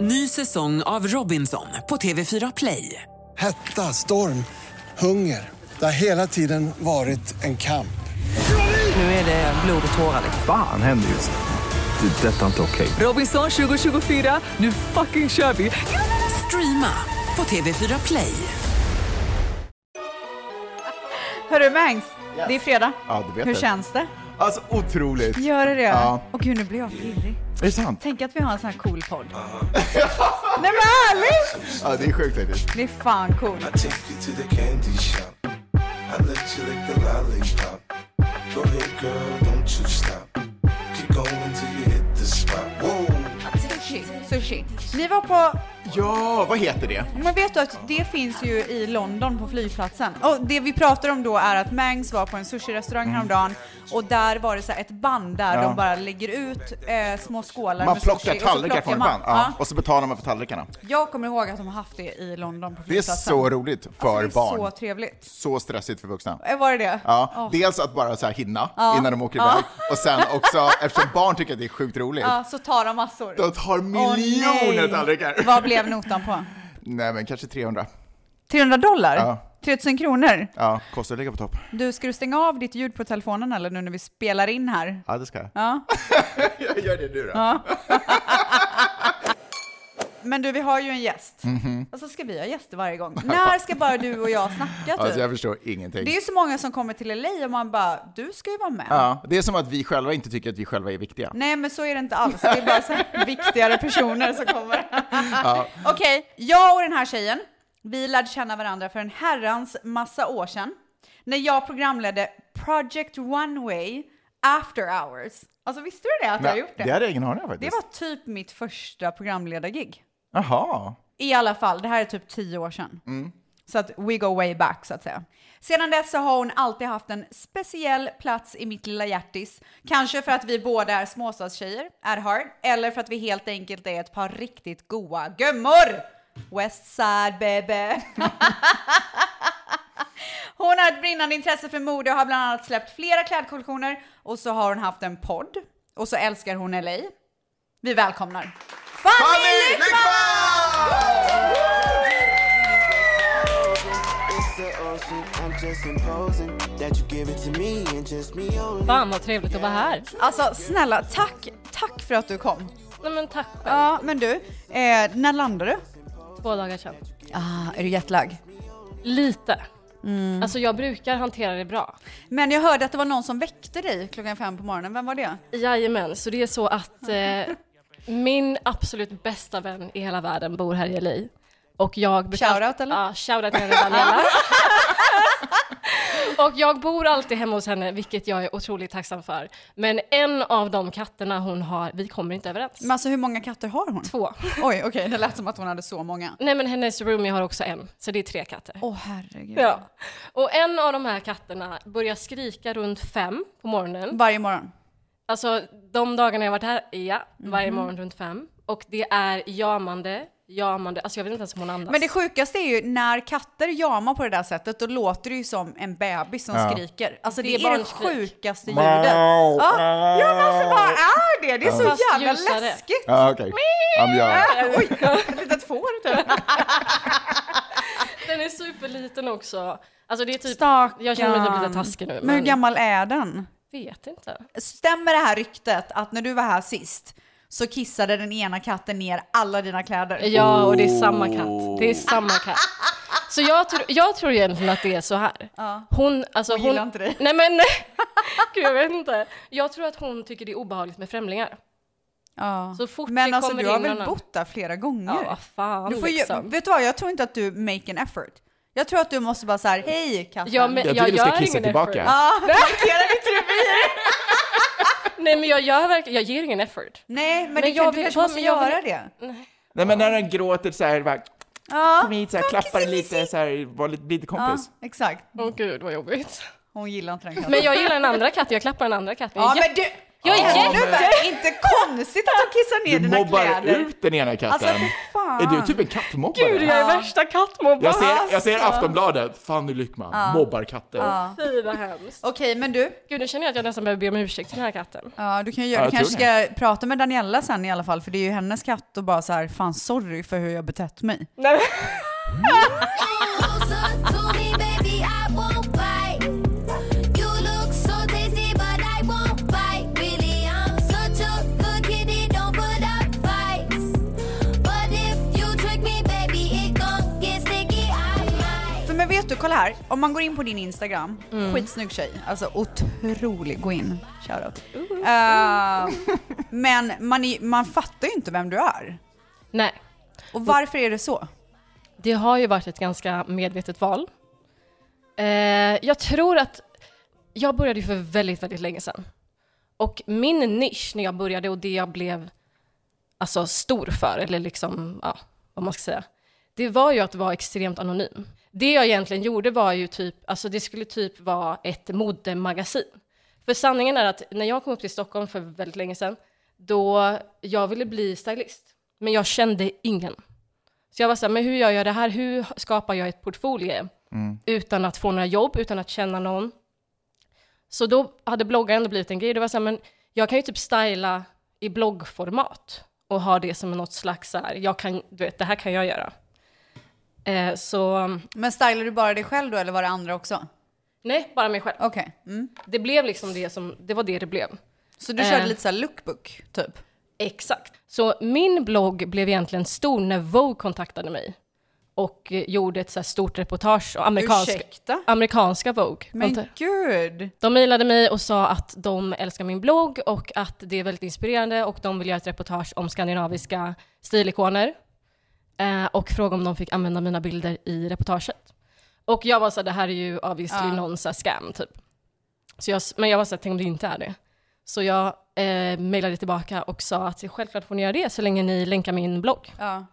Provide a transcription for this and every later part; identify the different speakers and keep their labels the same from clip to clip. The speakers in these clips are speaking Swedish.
Speaker 1: Ny säsong av Robinson på TV4 Play.
Speaker 2: Hetta, storm, hunger. Det har hela tiden varit en kamp.
Speaker 1: Nu är det blod och tårar. liksom.
Speaker 3: Fan händer just nu. Det. är Detta är inte okej.
Speaker 1: Robinson 2024, nu fucking kör vi! Streama på TV4 Play.
Speaker 4: Hörru Mangs, det är fredag.
Speaker 5: Ja, du vet
Speaker 4: Hur
Speaker 5: det.
Speaker 4: känns det?
Speaker 5: Alltså otroligt.
Speaker 4: Gör det det?
Speaker 5: Ja.
Speaker 4: Och gud, nu blir jag pirrig.
Speaker 5: Är det sant?
Speaker 4: Tänk att vi har en sån här cool podd. Nej men ärligt!
Speaker 5: Ja, det är sjukt faktiskt.
Speaker 4: Det är fan cool.
Speaker 6: I take you to the candy shop. I let you lick the lollipop. Go ahead, girl, don't you stop. Keep going till you hit the spot. Whoa.
Speaker 4: Sushi, sushi. Ni var på,
Speaker 5: Ja, vad heter det?
Speaker 4: men vet du att det finns ju i London på flygplatsen. Och det vi pratar om då är att Mangs var på en sushi-restaurang
Speaker 5: Mm.
Speaker 4: häromdagen och där var det så här ett band där de bara lägger ut eh, små skålar
Speaker 5: Man
Speaker 4: med
Speaker 5: plockar
Speaker 4: sushi och så
Speaker 5: tallrikar från ett
Speaker 4: plockar man.
Speaker 5: band. Ja.
Speaker 4: Ja.
Speaker 5: Och så betalar man för tallrikarna.
Speaker 4: Jag kommer ihåg att de har haft det i London
Speaker 5: Det
Speaker 4: på
Speaker 5: är
Speaker 4: flygplatsen.
Speaker 5: så roligt för
Speaker 4: alltså, det är så
Speaker 5: barn.
Speaker 4: trevligt.
Speaker 5: Så stressigt för vuxna.
Speaker 4: Eh, Var det det?
Speaker 5: Ja,
Speaker 4: Åh.
Speaker 5: Dels att bara så här hinna innan de åker iväg och sen också, eftersom barn tycker att det är sjukt roligt,
Speaker 4: Ja, så tar de massor.
Speaker 5: de tar
Speaker 4: Åh,
Speaker 5: miljoner
Speaker 4: nej.
Speaker 5: tallrikar.
Speaker 4: Vad blev notan på?
Speaker 5: Nej men kanske 300.
Speaker 4: 300 dollar?
Speaker 5: Ja.
Speaker 4: 3000 kronor?
Speaker 5: Ja, kostar att ligga på topp.
Speaker 4: Du, ska du stänga av ditt ljud på telefonen eller nu när vi spelar in här?
Speaker 5: Ja, det ska jag.
Speaker 4: Ja.
Speaker 5: Jag gör det nu då.
Speaker 4: Men du, vi har ju en gäst.
Speaker 5: Mhm.
Speaker 4: Och så ska vi ha gäster varje gång. När ska bara du och jag snacka typ?
Speaker 5: Alltså jag förstår ingenting.
Speaker 4: Det är ju så många som kommer till LA och man bara, du ska ju vara med.
Speaker 5: Ja, det är som att vi själva inte tycker att vi själva är viktiga.
Speaker 4: Nej, men så är det inte alls. Det är bara så här viktigare personer som kommer. Okej, jag och den här tjejen, vi lärde känna varandra för en herrans massa år sedan. När jag programledde Project Runway After Hours. Alltså visste du det att jag
Speaker 5: Nej,
Speaker 4: gjort det?
Speaker 5: hade jag ingen aning om
Speaker 4: Det
Speaker 5: faktiskt.
Speaker 4: var typ mitt första programledargig.
Speaker 5: Jaha.
Speaker 4: I alla fall, det här är typ tio år sedan. Så att we go way back så att säga. Sedan dess så har hon alltid haft en speciell plats i mitt lilla hjärtis. Kanske för att vi båda är småstadstjejer, at heart, eller för att vi helt enkelt är ett par riktigt goa gummor! West side baby! Hon har ett brinnande intresse för mode och har bland annat släppt flera klädkollektioner och så har hon haft en podd och så älskar hon LA. Vi välkomnar Fanny,
Speaker 5: Fanny
Speaker 4: Lyckman!
Speaker 5: Lyckman!
Speaker 6: It's the ocean, I'm just imposing that you give it to me and just me only.
Speaker 7: Fan vad trevligt att vara här.
Speaker 4: Alltså snälla, tack, tack för att du kom.
Speaker 7: Nej men tack själv.
Speaker 4: Ja, men du, eh, när landar du?
Speaker 7: Två dagar sedan.
Speaker 4: Ah, är du jetlag?
Speaker 7: Lite. Alltså jag brukar hantera det bra.
Speaker 4: Men jag hörde att det var någon som väckte dig klockan fem på morgonen. Vem var det?
Speaker 7: Jajamän, så det är så att eh, min absolut bästa vän i hela världen bor här i LA. Och jag brukar...
Speaker 4: Shoutout, eller?
Speaker 7: Ja, shoutout till henne Daniela. Och jag bor alltid hemma hos henne, vilket jag är otroligt tacksam för. Men en av de katterna hon har, vi kommer inte överens.
Speaker 4: Men alltså hur många katter har hon?
Speaker 7: Två.
Speaker 4: Oj, okej, det lät som att hon hade så många.
Speaker 7: Nej men hennes roomie har också en, så det är tre katter.
Speaker 4: Åh herregud.
Speaker 7: Ja. Och en av de här katterna börjar skrika runt fem på morgonen.
Speaker 4: Varje morgon.
Speaker 7: Alltså de dagarna jag varit här, ja, varje
Speaker 4: Mhm.
Speaker 7: morgon runt fem. Och det är jamande, jamande, alltså jag vet inte ens om hon andas.
Speaker 4: Men det sjukaste är ju när katter jamar på det där sättet, då låter det ju som en bebis som skriker. Alltså det,
Speaker 7: Det
Speaker 4: är,
Speaker 7: är
Speaker 4: det
Speaker 7: barnskrik.
Speaker 4: sjukaste ljudet. Ja, ja, men alltså vad är det? Det är så
Speaker 7: Fast
Speaker 4: jävla
Speaker 7: ljusare.
Speaker 4: läskigt.
Speaker 5: Ja, okej. Ja, men jag-
Speaker 4: Oj, ett litet får typ.
Speaker 7: Den är superliten också. Alltså det är typ,
Speaker 4: Stackarn.
Speaker 7: jag känner mig typ lite taskig nu. Men,
Speaker 4: Men hur gammal är den?
Speaker 7: Vet inte.
Speaker 4: Stämmer det här ryktet att när du var här sist så kissade den ena katten ner alla dina kläder?
Speaker 7: Ja, och det är samma katt. Det är samma katt. Så jag, tror jag tror egentligen att det är så här. Hon, alltså,
Speaker 4: Hon gillar inte dig.
Speaker 7: Nej men, nej. gud jag vet inte. Jag tror att hon tycker det är obehagligt med främlingar.
Speaker 4: Ja.
Speaker 7: Så fort
Speaker 4: Men
Speaker 7: det
Speaker 4: alltså
Speaker 7: kommer
Speaker 4: du har
Speaker 7: in
Speaker 4: väl
Speaker 7: någon-
Speaker 4: bott där flera gånger?
Speaker 7: Ja, vad fan
Speaker 4: du får ju,
Speaker 7: liksom.
Speaker 4: Vet du vad, jag tror inte att du make an effort. Jag tror att du måste bara så här, hej katten.
Speaker 7: Ja, men
Speaker 5: Jag
Speaker 7: jag,
Speaker 5: tycker du ska
Speaker 7: gör
Speaker 5: kissa
Speaker 7: ingen
Speaker 5: tillbaka.
Speaker 7: effort.
Speaker 4: Ja, markerar inte du mig?
Speaker 7: Nej men jag gör verkligen, jag ger ingen effort.
Speaker 4: Nej, men,
Speaker 7: Men
Speaker 4: det,
Speaker 7: jag
Speaker 4: kan- du
Speaker 7: vet-
Speaker 4: kanske
Speaker 7: vad-
Speaker 4: måste
Speaker 7: men jag
Speaker 4: göra
Speaker 7: vet- Mm.
Speaker 4: det.
Speaker 5: Nej men när den gråter så här, bara,
Speaker 4: Ja,
Speaker 5: kom hit, så här, klappar lite, så här, var lite, bli lite
Speaker 4: ja,
Speaker 5: kompis.
Speaker 4: exakt.
Speaker 7: Åh gud vad jobbigt.
Speaker 4: Hon gillar inte den katten.
Speaker 7: Men jag gillar den andra katten, jag klappar den andra katten.
Speaker 4: ja,
Speaker 7: Jag-
Speaker 4: men du,
Speaker 7: Jag är
Speaker 4: Ännu
Speaker 7: jätte...
Speaker 4: värre. Inte konstigt att de kissar ner
Speaker 5: Du
Speaker 4: dina
Speaker 5: mobbar
Speaker 4: kläder.
Speaker 5: ut den ena katten.
Speaker 4: Alltså, fy fan. Alltså.
Speaker 5: Är du typ en kattmobbare?
Speaker 7: Gud, jag är värsta
Speaker 5: jag,
Speaker 7: kattmobbaren.
Speaker 5: ser, jag ser Aftonbladet, Fanny Lyckman, mobbar katter.
Speaker 7: Fy vad hemskt.
Speaker 4: Okej, men du,
Speaker 7: Gud, nu känner jag att jag nästan behöver be om ursäkt till den här katten.
Speaker 4: ja, du, kan ju,
Speaker 5: Ja,
Speaker 4: du
Speaker 5: jag
Speaker 4: kanske
Speaker 5: tror
Speaker 4: ska prata med Daniela sen i alla fall, för det är ju hennes katt och bara så här, fan sorry för hur jag betett mig.
Speaker 7: Nej, men-
Speaker 8: Closer to me, baby, I won't fight. You look so tasty, but I won't bite. Really, I'm such a good kitty, don't put up fights. But if you trick me, baby, it gon' get sticky. I might.
Speaker 4: För men vet du, kolla här. Om man går in på din Instagram, skitsnygg tjej. Alltså otrolig, gå in. Shoutout. Eh, men man, är, man fattar ju inte vem du är.
Speaker 7: Nej.
Speaker 4: Och varför är det så?
Speaker 7: Det har ju varit ett ganska medvetet val. Eh, jag tror att jag började ju för väldigt, väldigt länge sedan. Och min nisch när jag började och det jag blev alltså, stor för, eller liksom, ja, vad man ska säga, det var ju att vara extremt anonym. Det jag egentligen gjorde var ju typ, alltså det skulle typ vara ett modemagasin. För sanningen är att när jag kom upp till Stockholm för väldigt länge sedan, då jag ville bli stylist, men jag kände ingen. Så jag var så här, men hur gör jag det här? Hur skapar jag ett portfolio? Utan att få några jobb, utan att känna någon. Så då hade bloggar ändå blivit en grej. Det var så här, men jag kan ju typ styla i bloggformat och ha det som något slags så här, jag kan, du vet, det här kan jag göra. Eh, så,
Speaker 4: Men stylar du bara dig själv då, eller var det andra också?
Speaker 7: nej, bara mig själv.
Speaker 4: Okej. Mm.
Speaker 7: Det blev liksom det som, det var det det blev.
Speaker 4: Så du körde
Speaker 7: Eh.
Speaker 4: lite så här lookbook, typ?
Speaker 7: Exakt. Så min blogg blev egentligen stor när Vogue kontaktade mig och eh, gjorde ett så här stort reportage. och Amerikanska,
Speaker 4: Ursäkta?
Speaker 7: amerikanska Vogue.
Speaker 4: Men gud!
Speaker 7: De mejlade mig och sa att de älskar min blogg och att det är väldigt inspirerande och de vill göra ett reportage om skandinaviska stilikoner eh, och fråga om de fick använda mina bilder i reportaget. Och jag var så här, det här är ju obviously någon så här scam typ. Så jag, men jag var så här, tänk om det inte är det. Så jag eh, mejlade tillbaka och sa att självklart får ni göra det så länge ni länkar min blogg.
Speaker 4: Ja.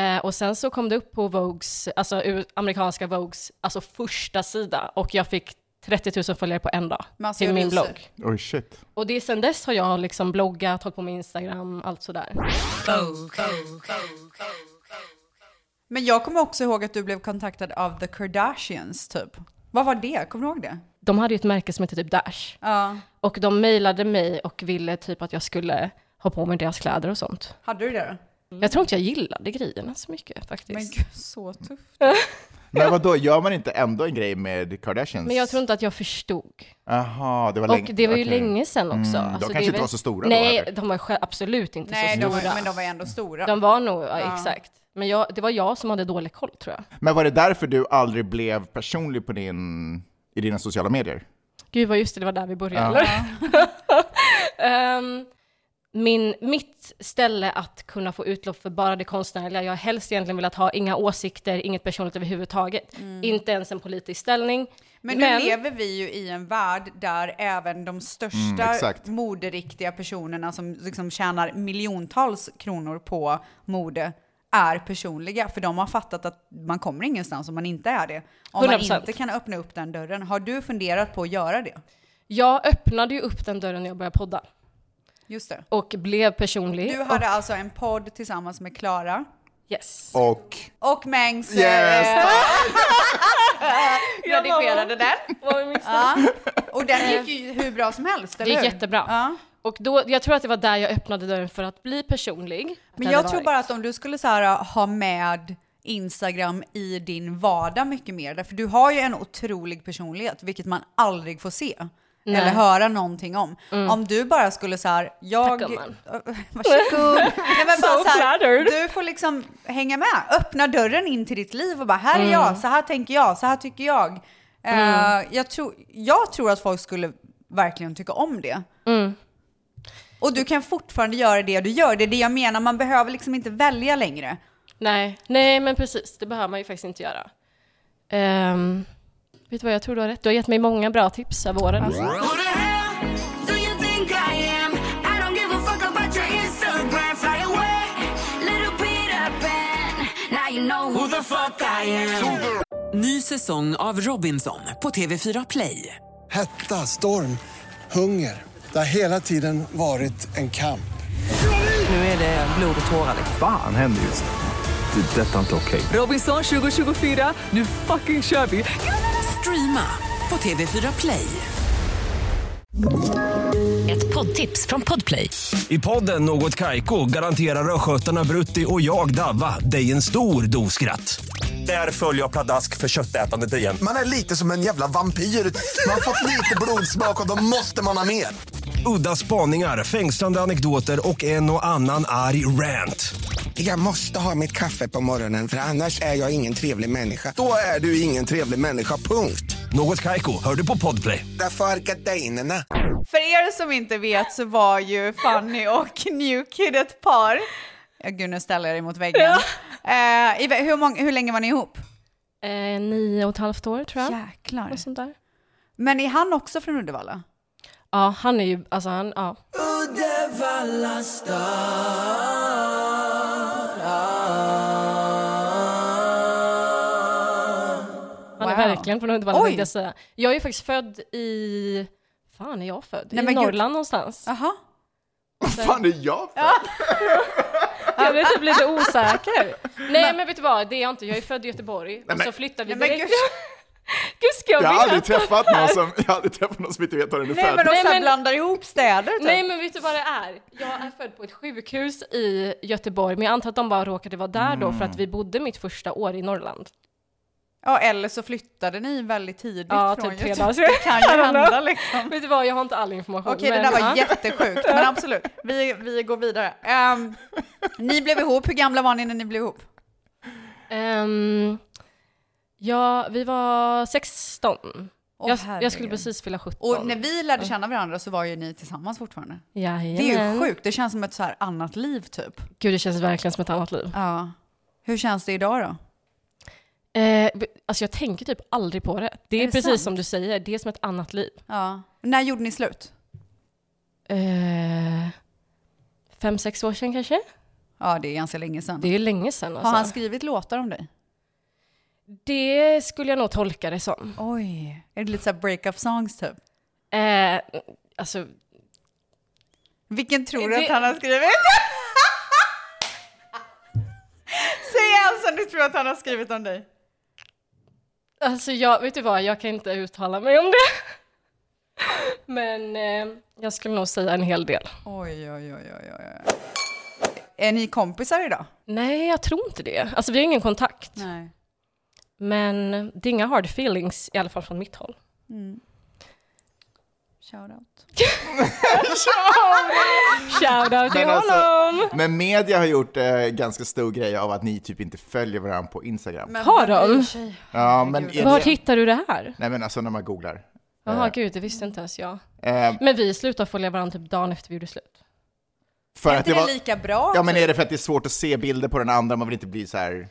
Speaker 7: Eh, och sen så kom det upp på Vogues, alltså ur- amerikanska Vogues, alltså första sida och jag fick 30 000 följare på en dag
Speaker 4: Men alltså,
Speaker 7: till
Speaker 4: jag
Speaker 7: min
Speaker 4: ryser.
Speaker 7: blogg.
Speaker 5: Oj shit.
Speaker 7: Och det är sen dess har jag liksom bloggat, hållit på med Instagram, allt sådär.
Speaker 4: Men jag kommer också ihåg att du blev kontaktad av The Kardashians, typ. Vad var det? Kommer du ihåg det?
Speaker 7: De hade ju ett märke som hette typ Dash.
Speaker 4: Ja.
Speaker 7: Och de mejlade mig och ville typ att jag skulle ha på mig deras kläder och sånt.
Speaker 4: Hade du det då?
Speaker 7: Jag tror inte jag gillade grejerna så mycket faktiskt.
Speaker 4: Mm. Men
Speaker 7: Men,
Speaker 4: gud, så tufft.
Speaker 5: Men vad då gör man inte ändå en grej med Kardashians?
Speaker 7: jag tror inte att jag förstod.
Speaker 5: Aha, det var
Speaker 7: Och
Speaker 5: länge.
Speaker 7: det var ju
Speaker 5: okej.
Speaker 7: länge sedan också.
Speaker 5: Mm, de
Speaker 7: Alltså, det
Speaker 5: kanske
Speaker 7: är
Speaker 5: inte
Speaker 7: väl-
Speaker 5: var så stora då
Speaker 7: Nej,
Speaker 5: heller.
Speaker 7: de var själv- absolut inte
Speaker 4: Nej,
Speaker 7: så
Speaker 4: de
Speaker 7: stora.
Speaker 4: var, men de var ändå stora.
Speaker 7: De var nog, ja, exakt. Men jag, det var jag som hade dålig koll tror jag.
Speaker 5: Men var det därför du aldrig blev personlig på din, i dina sociala medier?
Speaker 7: Gud vad just det, det var där vi började. eller? Ehm, min, mitt ställe att kunna få utlopp för bara det konstnärliga, jag har helst egentligen velat ha inga åsikter, inget personligt överhuvudtaget. Inte ens en politisk ställning.
Speaker 4: Mm. Men, nu lever vi ju i en värld där även de största
Speaker 5: exakt.
Speaker 4: moderiktiga personerna som liksom tjänar miljontals kronor på mode är personliga, för de har fattat att man kommer ingenstans om man inte är det. Om man
Speaker 7: 100%.
Speaker 4: inte kan öppna upp den dörren. Har du funderat på att göra det?
Speaker 7: Jag öppnade ju upp den dörren när jag började podda
Speaker 4: Just det.
Speaker 7: och blev personlig.
Speaker 4: Du hade alltså en podd tillsammans med Klara
Speaker 7: och, yes.
Speaker 5: Och?
Speaker 4: och Mengs... eh,
Speaker 5: Yes!
Speaker 7: Jag
Speaker 4: redigerade den.
Speaker 7: Vad vi missade.
Speaker 4: Och den gick ju hur bra som helst, eller
Speaker 7: Det är
Speaker 4: hur?
Speaker 7: jättebra.
Speaker 4: Ja.
Speaker 7: Och då, jag tror att det var där jag öppnade dörren för att bli personlig. Att det
Speaker 4: Men
Speaker 7: hade
Speaker 4: jag tror
Speaker 7: varit-
Speaker 4: bara att om du skulle så här, eh, ha med Instagram i din vardag mycket mer, därför du har ju en otrolig personlighet, vilket man aldrig får se. Eller höra någonting om.
Speaker 7: Mm.
Speaker 4: Om du bara skulle så här, jag...
Speaker 7: Tack, gumman.
Speaker 4: Varsågod. Nej, men bara
Speaker 7: So
Speaker 4: så här,
Speaker 7: flattered.
Speaker 4: du får liksom hänga med, öppna dörren in till ditt liv och bara här är jag, så här tänker jag, så här tycker jag. Eh, jag, tror, jag tror att folk skulle verkligen tycka om det. Och du kan fortfarande göra det du gör. Det är det jag menar, man behöver liksom inte välja längre.
Speaker 7: Nej, nej men precis. Det behöver man ju faktiskt inte göra. Ehm, vet du vad, jag tror du har rätt. Du har gett mig många bra tips av åren.
Speaker 4: Alltså.
Speaker 8: Who the hell do you think I am? I don't give a fuck about your Instagram. Fly away, little Peter Pan. Now you know who the fuck I am.
Speaker 1: Ny säsong av Robinson på TV4 Play.
Speaker 2: Hetta, storm, hunger. Det har hela tiden varit en kamp.
Speaker 1: Nu är det blod och tårar. liksom.
Speaker 3: Fan händer just nu. Det. är Detta är inte okej.
Speaker 1: Robinson 2024, nu fucking kör vi! Streama på TV4 Play.
Speaker 9: Ett poddtips från Podplay.
Speaker 10: I podden Något Kaiko garanterar östgötarna Brutti och jag, Davva, dig en stor dos skratt. Där följer jag pladask för köttätandet igen.
Speaker 11: Man är lite som en jävla vampyr. Man har fått lite blodsmak och då måste man ha mer.
Speaker 10: Udda spaningar, fängslande anekdoter och en och annan arg rant.
Speaker 11: Jag måste ha mitt kaffe på morgonen för annars är jag ingen trevlig människa. Då är du ingen trevlig människa, punkt.
Speaker 10: Något Kaiko, hör du på Podplay.
Speaker 11: Därför är gardinerna.
Speaker 4: För er som inte vet så var ju Fanny och New Kid ett par. Ja, gud, nu ställer jag dig mot väggen. Eh, i, hur, mång- hur länge var ni ihop?
Speaker 7: Eh, nio och ett halvt år tror jag.
Speaker 4: Jäklar.
Speaker 7: Och sånt där.
Speaker 4: Men är han också från Uddevalla?
Speaker 7: Ja, han är ju, alltså han, ja. Han är
Speaker 4: Wow.
Speaker 7: verkligen från Uddevalla tänkte
Speaker 4: Oj.
Speaker 7: jag säga. Jag är faktiskt född i, fan är jag född?
Speaker 4: Nej,
Speaker 7: I
Speaker 4: men gud.
Speaker 7: Norrland någonstans.
Speaker 4: Jaha.
Speaker 5: Fan är jag för?
Speaker 7: Jag blev typ lite osäker. Nej men vet du vad, det är jag inte. Jag är född i Göteborg och så flyttade vi
Speaker 4: Nej, men
Speaker 7: direkt.
Speaker 4: gud.
Speaker 7: Gud ska jag
Speaker 5: Jag har aldrig
Speaker 7: berätta?
Speaker 5: träffat någon som, jag har aldrig träffat någon som inte vet var den är
Speaker 4: Nej, men
Speaker 5: född.
Speaker 4: de
Speaker 7: Nej,
Speaker 4: så här
Speaker 7: men-
Speaker 4: blandar ihop städer typ.
Speaker 7: Nej men vet du vad det är? Jag är född på ett sjukhus i Göteborg men jag antar att de bara råkade vara där då för att vi bodde mitt första år i Norrland.
Speaker 4: Ja, eller så flyttade ni väldigt tidigt
Speaker 7: Ja,
Speaker 4: från
Speaker 7: typ tre
Speaker 4: Göteborg.
Speaker 7: dagar
Speaker 4: Det kan
Speaker 7: I
Speaker 4: ju
Speaker 7: don't know.
Speaker 4: hända liksom.
Speaker 7: Vet du vad, jag har inte all information.
Speaker 4: Okej, det
Speaker 7: men,
Speaker 4: där var
Speaker 7: ja.
Speaker 4: jättesjukt, men absolut. Vi, vi går vidare. Ehm, ni blev ihop, hur gamla var ni när ni blev ihop?
Speaker 7: Ehm, ja, vi var 16.
Speaker 4: Åh,
Speaker 7: jag,
Speaker 4: herregud.
Speaker 7: jag skulle precis fylla 17.
Speaker 4: Och när vi lärde känna varandra så var ju ni tillsammans fortfarande.
Speaker 7: Jajamän.
Speaker 4: Det är ju sjukt, det känns som ett så här annat liv typ.
Speaker 7: Gud, det känns verkligen som ett annat liv.
Speaker 4: Ja. Hur känns det idag då?
Speaker 7: Eh, alltså jag tänker typ aldrig på det. Det är,
Speaker 4: det
Speaker 7: precis
Speaker 4: sant?
Speaker 7: som du säger, det är som ett annat liv.
Speaker 4: Ja. När gjorde ni slut?
Speaker 7: Eh, fem, sex år sedan kanske?
Speaker 4: Ja, det är ganska länge sedan.
Speaker 7: Det är ju länge sedan
Speaker 4: Har
Speaker 7: alltså.
Speaker 4: han skrivit låtar om dig?
Speaker 7: Det skulle jag nog tolka det som.
Speaker 4: Oj, är det lite så här break-up songs typ?
Speaker 7: Eh, alltså,
Speaker 4: Vilken tror du
Speaker 7: Det-
Speaker 4: att han har skrivit? Säg en som du tror att han har skrivit om dig.
Speaker 7: alltså jag, vet du vad, jag kan inte uttala mig om det. Men eh, jag skulle nog säga en hel del.
Speaker 4: Oj, oj, oj, oj, oj. Är ni kompisar idag?
Speaker 7: Nej, jag tror inte det. Alltså vi har ingen kontakt.
Speaker 4: Nej.
Speaker 7: Men det är inga hard feelings, i alla fall från mitt håll.
Speaker 4: Shoutout.
Speaker 7: Shoutout till
Speaker 5: Men alltså-
Speaker 7: honom!
Speaker 5: Men media har gjort eh, ganska stor grej av att ni typ inte följer varandra på Instagram.
Speaker 7: Har de?
Speaker 5: ja, men är
Speaker 7: Var
Speaker 5: det,
Speaker 7: hittar du det här?
Speaker 5: nej men alltså när man googlar.
Speaker 7: Jaha, gud, det visste inte ens jag.
Speaker 5: Eh,
Speaker 7: Men vi slutade följa varandra typ dagen efter vi gjorde slut.
Speaker 5: för
Speaker 4: Är
Speaker 5: att
Speaker 4: inte
Speaker 5: det var,
Speaker 4: det lika bra? typ?
Speaker 5: ja men är det för att det är svårt att se bilder på den andra, man vill inte bli så här.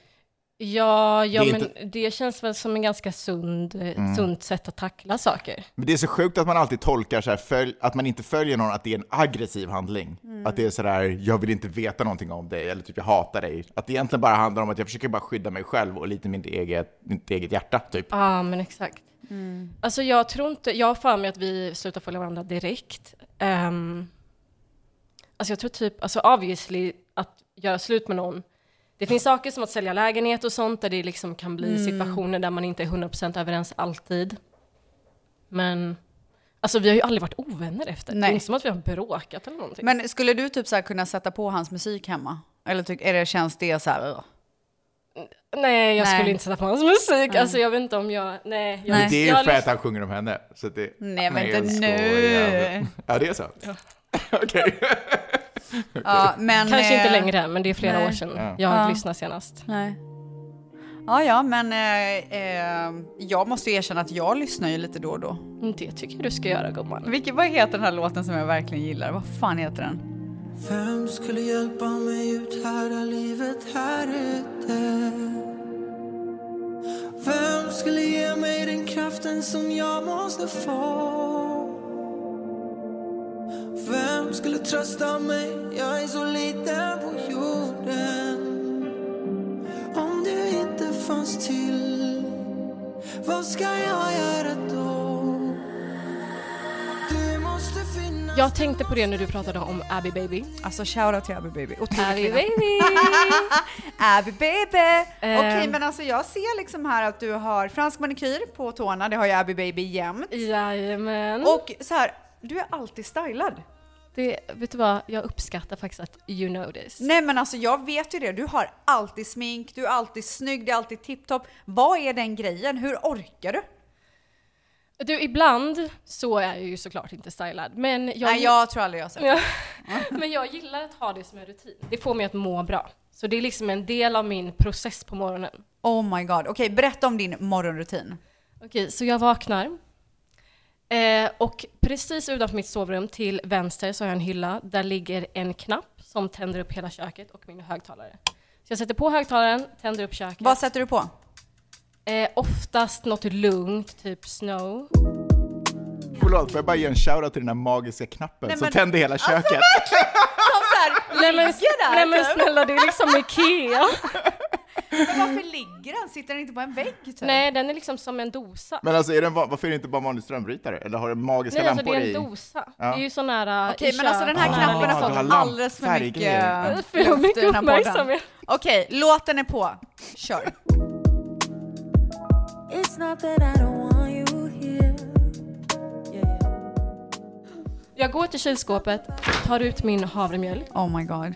Speaker 7: Ja, ja
Speaker 5: Det är
Speaker 7: men
Speaker 5: inte- Mm.
Speaker 7: det känns väl som en ganska sund, eh, sunt sätt att tackla saker.
Speaker 5: Men det är så sjukt att man alltid tolkar så här, följ, att man inte följer någon, att det är en aggressiv handling.
Speaker 7: Mm.
Speaker 5: Att det är så där, jag vill inte veta någonting om dig, eller typ jag hatar dig. Att det egentligen bara handlar om att jag försöker bara skydda mig själv och lite mitt eget, mitt eget hjärta, typ.
Speaker 7: Ja, men exakt. Alltså jag tror inte, jag har för mig att vi slutade följa varandra direkt. Um, alltså jag tror typ, alltså obviously att göra slut med någon. Det finns saker som att sälja lägenhet och sånt där det liksom kan bli situationer där man inte är 100% överens alltid. Men, alltså vi har ju aldrig varit ovänner efter. Det
Speaker 4: Nej.
Speaker 7: är inte som att vi har bråkat eller någonting.
Speaker 4: Men skulle du typ så här kunna sätta på hans musik hemma? Eller tyck, är det, känns det så här? "Ugh."
Speaker 7: Nej, jag
Speaker 4: Nej.
Speaker 7: skulle inte sätta på hans musik. Alltså jag vet inte om jag... Nej. Jag,
Speaker 5: Men det är ju
Speaker 7: jag
Speaker 5: för
Speaker 7: har
Speaker 5: att han sjunger om henne. Så att det,
Speaker 4: Nej, men
Speaker 5: jag
Speaker 4: inte nu.
Speaker 5: skojar. Ja, det är så. Okej.
Speaker 4: Ja, men,
Speaker 7: Kanske inte
Speaker 4: eh,
Speaker 7: längre än, men det är flera
Speaker 4: nej.
Speaker 7: år sedan jag lyssnade senast.
Speaker 4: Nej. Ja, ja, men eh, eh, jag måste ju erkänna att jag lyssnar ju lite då och då.
Speaker 7: Mm, Det tycker jag du ska göra gumman.
Speaker 4: Vilken, vad heter den här låten som jag verkligen gillar? Vad fan heter den?
Speaker 12: Vem skulle hjälpa mig ut här är livet här ute? Vem skulle ge mig den kraften som jag måste få? Vem skulle trösta mig? Jag är så liten på jorden. Om du inte fanns till, vad ska jag göra då? Du måste finnas
Speaker 7: Jag tänkte på det när du pratade om Abby Baby.
Speaker 4: Alltså shoutout till Abby Baby. Otrolig
Speaker 7: Abby
Speaker 4: kvinna.
Speaker 7: Baby!
Speaker 4: Abby Baby!
Speaker 7: Eh.
Speaker 4: Okej, men alltså jag ser liksom här att du har fransk manikyr på tårna, det har ju Abby Baby jämt.
Speaker 7: Jajamän.
Speaker 4: Och så här, du är alltid stylad.
Speaker 7: Det, vet du vad, jag uppskattar faktiskt att you know this.
Speaker 4: Nej men alltså jag vet ju det, du har alltid smink, du är alltid snygg, det är alltid tipptopp. Vad är den grejen? Hur orkar du?
Speaker 7: Du, ibland så är jag ju såklart inte stylad, men jag...
Speaker 4: Nej, jag tror aldrig jag har sett
Speaker 7: Ja.
Speaker 4: det.
Speaker 7: Men jag gillar att ha det som en rutin. Det får mig att må bra. Så det är liksom en del av min process på morgonen.
Speaker 4: Oh my god. Okej, berätta om din morgonrutin.
Speaker 7: Okej, så jag vaknar. Eh, och precis utanför mitt sovrum till vänster så har jag en hylla. Där ligger en knapp som tänder upp hela köket och min högtalare. Så jag sätter på högtalaren, tänder upp köket.
Speaker 4: Vad sätter du på?
Speaker 7: Eh, oftast något lugnt, typ snow.
Speaker 5: Förlåt, får jag bara ge en shoutout till den här magiska knappen
Speaker 7: Nej,
Speaker 5: som
Speaker 7: men- alltså-
Speaker 5: tände hela köket?
Speaker 4: Som såhär,
Speaker 7: Nej men,
Speaker 4: ligger där
Speaker 7: nej, men
Speaker 4: typ.
Speaker 7: snälla, det är liksom Ikea.
Speaker 4: Men varför ligger den? Sitter den inte på en vägg typ?
Speaker 7: Nej, den är liksom som en dosa.
Speaker 5: Men alltså, är den, va- varför är det inte bara en vanlig strömbrytare? Eller har den magiska
Speaker 7: Nej, alltså det
Speaker 5: lampor
Speaker 7: är en
Speaker 5: i?
Speaker 7: dosa.
Speaker 5: Ja.
Speaker 7: Det är ju sån här äh,
Speaker 4: Okej,
Speaker 7: i
Speaker 4: men alltså den här
Speaker 5: Ah,
Speaker 4: knappen
Speaker 5: du
Speaker 4: har
Speaker 5: har
Speaker 4: fått
Speaker 5: lamp-
Speaker 4: alldeles för
Speaker 5: färggrejer.
Speaker 4: mycket
Speaker 7: För mycket
Speaker 4: luft i den här podden.
Speaker 7: uppmärksamhet.
Speaker 4: Okej, låten är på. Kör.
Speaker 13: It's not that I don't want you here.
Speaker 7: Jag går till kylskåpet, tar ut min havremjölk.
Speaker 4: Oh my god.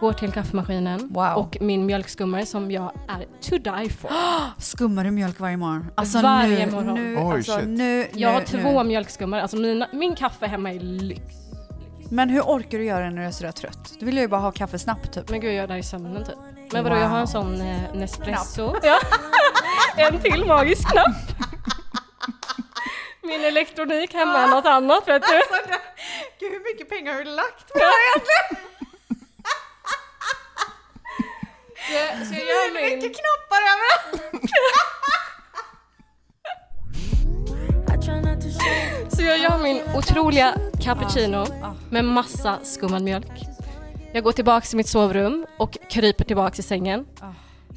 Speaker 7: Går till kaffemaskinen och min mjölkskummare som jag är to die for.
Speaker 4: Skummar du mjölk varje morgon? Alltså
Speaker 7: Varje
Speaker 4: nu,
Speaker 7: morgon.
Speaker 4: Nu, alltså, nu,
Speaker 7: jag
Speaker 4: nu,
Speaker 7: har två
Speaker 4: nu.
Speaker 7: mjölkskummare, alltså mina, min kaffe hemma är lyx.
Speaker 4: Men hur orkar du göra det när du är sådär trött? Du vill ju bara ha kaffe snabbt typ.
Speaker 7: Men gud, jag gör det här i sömnen typ. Men vadå, jag har en sån eh, Nespresso.
Speaker 4: Knapp.
Speaker 7: Ja. en till magisk knapp. Min elektronik hemma är något annat vet du.
Speaker 4: Alltså, det- gud hur mycket pengar har du lagt på det här egentligen?
Speaker 7: Ja, så
Speaker 4: Hur
Speaker 7: jag gör min...
Speaker 4: mycket knappar överallt?
Speaker 7: Så jag gör min otroliga cappuccino med massa skummad mjölk. Jag går tillbaks till mitt sovrum och kryper tillbaks i sängen.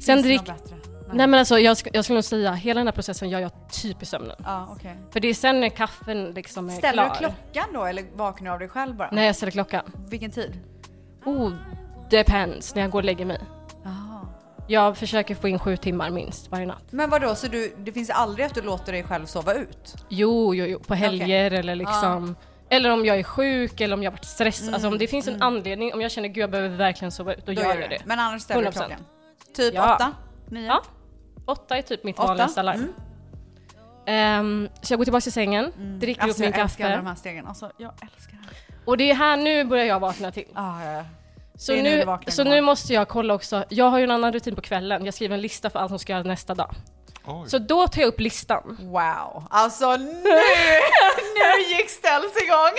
Speaker 7: Sen
Speaker 4: finns det
Speaker 7: drick...
Speaker 4: något bättre? Nej.
Speaker 7: Nej men alltså jag, sk- jag skulle nog säga hela den här processen gör jag typ i sömnen.
Speaker 4: Ja, okej.
Speaker 7: För det är sen när kaffen liksom är
Speaker 4: Ställer
Speaker 7: klar.
Speaker 4: du klockan då eller vaknar du av dig själv bara?
Speaker 7: Nej jag ställer klockan.
Speaker 4: Vilken tid?
Speaker 7: Oh, depends när jag går och lägger mig. Jag försöker få in sju timmar minst varje natt.
Speaker 4: Men vadå, så du, det finns aldrig att du låter dig själv sova ut?
Speaker 7: Jo, jo, jo på helger eller liksom. Eller om jag är sjuk eller om jag har varit stressad.
Speaker 4: Mm,
Speaker 7: Alltså om det finns en anledning, om jag känner gud jag behöver verkligen sova ut, då, gör jag det.
Speaker 4: Men annars ställer du
Speaker 7: 100%.
Speaker 4: klockan? Typ
Speaker 7: Ja.
Speaker 4: åtta? Nio?
Speaker 7: Ja. Åtta är typ mitt
Speaker 4: Åtta? Mm.
Speaker 7: vanligaste alarm. Ehm, så jag går tillbaka till sängen, dricker
Speaker 4: Alltså,
Speaker 7: upp min
Speaker 4: jag älskar alla de
Speaker 7: kaffe.
Speaker 4: här stegen. Alltså, jag älskar det.
Speaker 7: Och det är här nu börjar jag vakna till.
Speaker 4: Ah,
Speaker 7: Så,
Speaker 4: Det är nu
Speaker 7: nu,
Speaker 4: du vaknar
Speaker 7: så
Speaker 4: imorgon.
Speaker 7: nu måste jag kolla också, jag har ju en annan rutin på kvällen, jag skriver en lista för allt som ska göras nästa dag. Så då tar jag upp listan.
Speaker 4: Wow, alltså nu, nu gick ställs igång!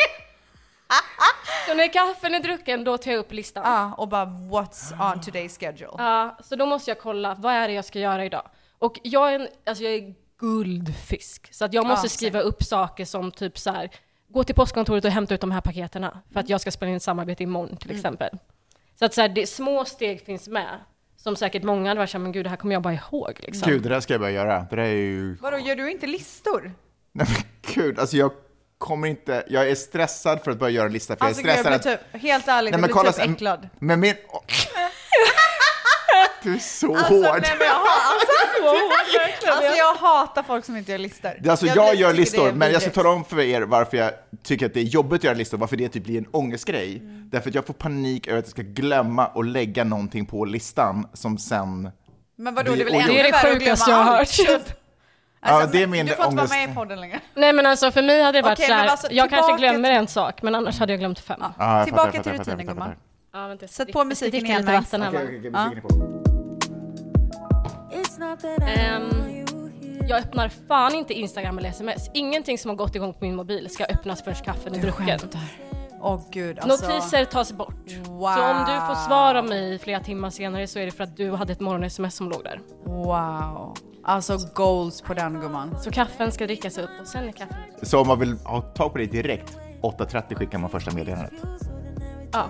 Speaker 7: Så när kaffen är drucken, då tar jag upp listan.
Speaker 4: Ja, och bara what's on today's schedule?
Speaker 7: Ja, så då måste jag kolla, vad är det jag ska göra idag? Och jag är, en, alltså jag är guldfisk, så att jag måste
Speaker 4: Ja,
Speaker 7: skriva upp saker som typ så här, gå till postkontoret och hämta ut de här paketerna, för att jag ska spela in ett samarbete imorgon till
Speaker 4: Mm.
Speaker 7: exempel. Så att så här, det, små steg finns med, som säkert många hade varit såhär, men gud det här kommer jag bara ihåg liksom.
Speaker 5: Gud, det där ska jag börja göra. Det där är ju...
Speaker 4: Vadå, gör du inte listor?
Speaker 5: Gud, alltså jag kommer inte... Jag är stressad för att börja göra en lista, för
Speaker 4: Alltså
Speaker 5: jag är
Speaker 4: gud, jag
Speaker 5: stressad
Speaker 4: blir
Speaker 5: att...
Speaker 4: typ, helt ärligt,
Speaker 5: Nej, men
Speaker 4: jag blir
Speaker 5: kolla
Speaker 4: typ
Speaker 5: sen-
Speaker 4: äcklad.
Speaker 5: Men min... Åh. Du är så
Speaker 4: Alltså,
Speaker 5: hård.
Speaker 4: nej, men jag, har, alltså,
Speaker 7: verkligen.
Speaker 4: alltså jag hatar folk som inte gör listor.
Speaker 5: Alltså jag
Speaker 4: blir-
Speaker 5: gör
Speaker 4: tycker det
Speaker 5: listor,
Speaker 4: är
Speaker 5: men jag ska
Speaker 4: vidrigt.
Speaker 5: tala om för er varför jag tycker att det är jobbigt att göra listor, varför det typ blir en ångestgrej.
Speaker 4: Mm.
Speaker 5: Därför att jag får panik över att jag ska glömma och lägga någonting på listan som sen...
Speaker 4: Men vadå,
Speaker 5: blir
Speaker 4: det är väl
Speaker 5: ogjort.
Speaker 4: ännu värre att glömma allt? Alltså,
Speaker 7: hört.
Speaker 5: ja, det är min
Speaker 4: Du får inte vara
Speaker 5: ångest.
Speaker 4: med i podden längre.
Speaker 7: Nej men alltså för mig hade det varit
Speaker 4: Okej,
Speaker 7: så
Speaker 4: men
Speaker 7: här,
Speaker 4: alltså,
Speaker 7: jag kanske
Speaker 4: tillbaka
Speaker 7: glömmer
Speaker 4: till-
Speaker 7: en sak, men annars hade jag glömt fem.
Speaker 5: Ja, jag
Speaker 4: Tillbaka
Speaker 5: fattar, jag
Speaker 4: till
Speaker 5: fattar, jag
Speaker 4: rutinen,
Speaker 5: fattar, jag
Speaker 4: gumman.
Speaker 5: fattar.
Speaker 7: Ja, vänta,
Speaker 4: Sätt på musiken
Speaker 7: dricka
Speaker 4: igen,
Speaker 7: lite
Speaker 4: Max.
Speaker 7: vatten här bara.
Speaker 4: Ja.
Speaker 13: It's not that I don't want
Speaker 7: Ehm, jag öppnar fan inte Instagram eller sms. Ingenting som har gått igång på min mobil ska öppnas förrän kaffen är drucken.
Speaker 4: Åh gud alltså.
Speaker 7: Notiser tas bort. Så om du får svar av mig flera timmar senare så är det för att du hade ett morgon-sms som låg där.
Speaker 4: Wow. Alltså goals på den gumman.
Speaker 7: Så kaffen ska drickas upp och sen är kaffen...
Speaker 5: Så om man vill ha tag på det direkt, 8.30 skickar man första meddelandet.
Speaker 7: Ja.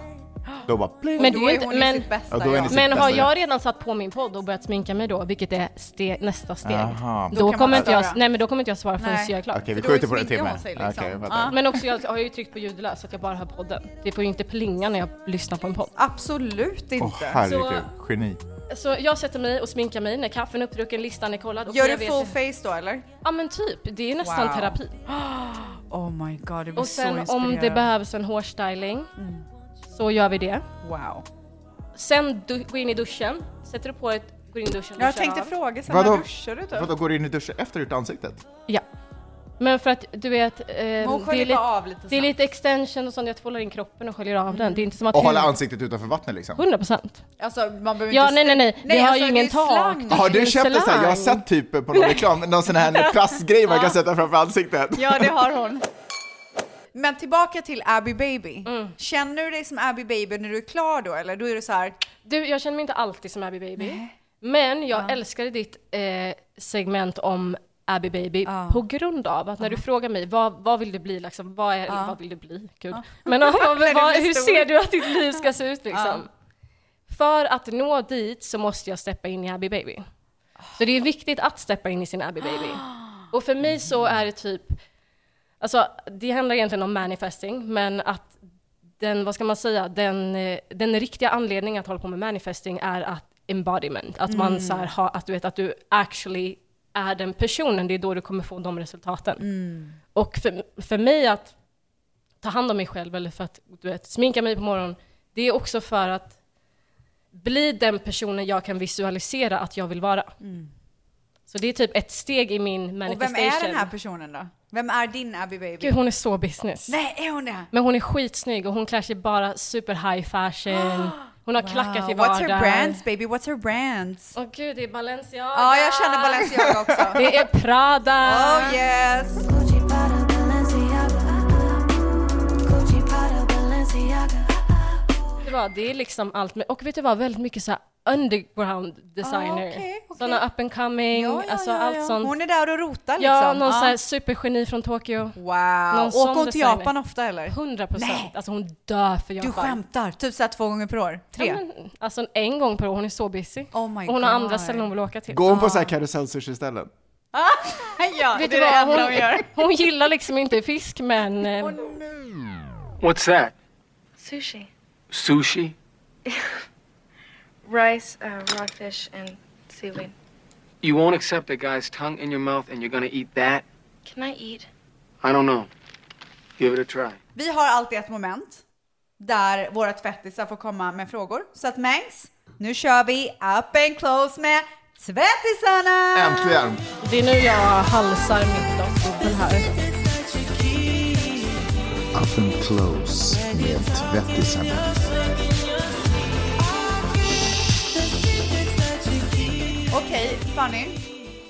Speaker 5: Då bara pling.
Speaker 7: Men,
Speaker 4: Då
Speaker 7: det är
Speaker 4: är
Speaker 7: ju inte,
Speaker 4: hon i
Speaker 7: men,
Speaker 4: sitt bästa
Speaker 5: Ja, då är ni jag. sitt
Speaker 7: men
Speaker 5: bästa
Speaker 7: har
Speaker 5: jag.
Speaker 7: jag redan satt på min podd och börjat sminka mig då, vilket är ste, nästa steg,
Speaker 5: Jaha.
Speaker 7: då,
Speaker 5: Då kan
Speaker 7: kommer
Speaker 5: man
Speaker 7: inte jag,
Speaker 5: störa.
Speaker 7: nej, men då kommer inte jag svara förrän
Speaker 5: Nej.
Speaker 7: jag är klar.
Speaker 5: Okej, vi För då skjuter på det en sminkar timme. hon sig liksom. Okej, jag fattar. Ja.
Speaker 7: Men också jag har ju tryckt på ljudlös så att jag bara hör podden. Det får ju inte plinga när jag lyssnar på en podd.
Speaker 4: Absolut inte.
Speaker 5: Åh herregud, geni.
Speaker 7: Så Typ. jag sätter mig och sminkar mig när kaffen är uppdrucken, listan är kollad. och
Speaker 4: Gör
Speaker 7: jag
Speaker 4: du full face då eller?
Speaker 7: Ja men typ, det är nästan
Speaker 4: Wow.
Speaker 7: terapi.
Speaker 4: Oh my god, du blir
Speaker 7: Och sen
Speaker 4: så
Speaker 7: om det
Speaker 4: inspirerad.
Speaker 7: behövs en hårstyling så gör vi det.
Speaker 4: Wow.
Speaker 7: Sen du, gå in i duschen, sätter du på ett, går in i duschen
Speaker 4: Jag
Speaker 7: duschar
Speaker 4: tänkte
Speaker 7: av.
Speaker 4: fråga sen,
Speaker 5: Vadå?
Speaker 4: när duschar du
Speaker 5: Vadå,
Speaker 4: typ?
Speaker 5: går du in i duschen efter du gjort ansiktet?
Speaker 7: Ja. Men för att du vet, eh, det,
Speaker 4: hon sköljer
Speaker 7: är
Speaker 4: bara av lite
Speaker 7: det är
Speaker 4: snabbt.
Speaker 7: lite extension och sånt, jag tvålar in kroppen och sköljer av den. Det är inte som att...
Speaker 5: Och hålla
Speaker 7: hud-
Speaker 5: ansiktet utanför vattnet liksom?
Speaker 7: 100 procent.
Speaker 4: Alltså man behöver inte...
Speaker 7: Ja,
Speaker 4: alltså,
Speaker 7: nej, nej, nej. Vi har ju
Speaker 4: det är
Speaker 7: ingen tak.
Speaker 4: slang.
Speaker 5: Har du köpt en sån här, jag har sett typ på någon reklam, någon sån här plastgrej man kan sätta framför ansiktet.
Speaker 4: Ja, det har hon. Men tillbaka till Abby Baby.
Speaker 7: Mm.
Speaker 4: Känner du dig som Abby Baby när du är klar då eller? Då är det så här,
Speaker 7: Du, jag känner mig inte alltid som Abby Baby. Men jag älskade ditt eh, segment om Abby Baby på grund av att när du frågar mig vad, vad vill du bli, liksom, vad, är,
Speaker 4: Ja.
Speaker 7: vad vill du bli? Gud.
Speaker 4: Ja.
Speaker 7: Men vad, vad,
Speaker 4: När du
Speaker 7: vad,
Speaker 4: blir
Speaker 7: hur
Speaker 4: stor.
Speaker 7: ser du att ditt liv ska se ut liksom? För att nå dit så måste jag steppa in i Abby Baby. Så det är viktigt att steppa in i sin Abby Baby. Och för mig så är det typ, alltså det handlar egentligen om manifesting, men att den, vad ska man säga, den, eh, den riktiga anledningen att hålla på med manifesting är att embodiment, att man
Speaker 4: Mm.
Speaker 7: så här, har, att du vet att du actually är den personen, det är då du kommer få de resultaten.
Speaker 4: Mm.
Speaker 7: Och för, för mig att ta hand om mig själv eller för att du vet, sminka mig på morgonen, det är också för att bli den personen jag kan visualisera att jag vill vara. Så det är typ ett steg i min
Speaker 4: Mm. och
Speaker 7: manifestation.
Speaker 4: vem är den här personen då? Vem är din Abby Baby?
Speaker 7: Gud, hon är så business.
Speaker 4: Nej, är hon det?
Speaker 7: Men hon är skitsnygg och hon klär sig bara super high fashion. Hon har klackat i
Speaker 4: What's
Speaker 7: vardagen.
Speaker 4: her brands baby? What's her brands?
Speaker 7: Åh gud, det är Balenciaga.
Speaker 4: Ja, jag känner Balenciaga också.
Speaker 7: Det är Prada.
Speaker 4: Oh yes!
Speaker 7: Det, var, det är liksom allt. med- Och vet du vad, väldigt mycket så här underground
Speaker 4: Ah,
Speaker 7: designer. Sådana up and coming, alltså allt sånt.
Speaker 4: Hon är där och rotar liksom.
Speaker 7: Ja, någon
Speaker 4: Ja.
Speaker 7: så här supergeni från Tokyo.
Speaker 4: Wow.
Speaker 7: Någon sån
Speaker 4: Åker hon till
Speaker 7: designer.
Speaker 4: Japan ofta eller?
Speaker 7: 100
Speaker 4: Nej.
Speaker 7: procent. Alltså hon dör för Japan.
Speaker 4: Du skämtar? Typ såhär två gånger per år? Tre?
Speaker 7: Ja, men, alltså en gång per år, hon är så busy.
Speaker 4: Oh my
Speaker 7: och hon har
Speaker 4: God.
Speaker 7: andra ställen hon vill åka till.
Speaker 5: Går hon på så här karusellsushi-ställen?
Speaker 4: ja,
Speaker 7: Vet
Speaker 4: det
Speaker 7: du
Speaker 4: är det
Speaker 7: vad,
Speaker 4: enda
Speaker 7: hon,
Speaker 4: hon gör.
Speaker 7: hon gillar liksom inte fisk men... eh,
Speaker 14: What's that?
Speaker 15: Sushi.
Speaker 14: Sushi?
Speaker 15: Rice, uh, rockfish, and seaweed.
Speaker 14: You won't accept a guy's tongue in your mouth and you're gonna eat that?
Speaker 15: Can I eat?
Speaker 14: I don't know. Give it a try.
Speaker 4: Vi har alltid ett moment där våra tvättisar får komma med frågor. Så att Mangs, nu kör vi up and close med tvättisarna!
Speaker 5: Äntligen!
Speaker 7: Det är nu jag halsar mitt glas bubbel här.
Speaker 3: Up and close med tvättisarna.
Speaker 4: Okej, Fanny.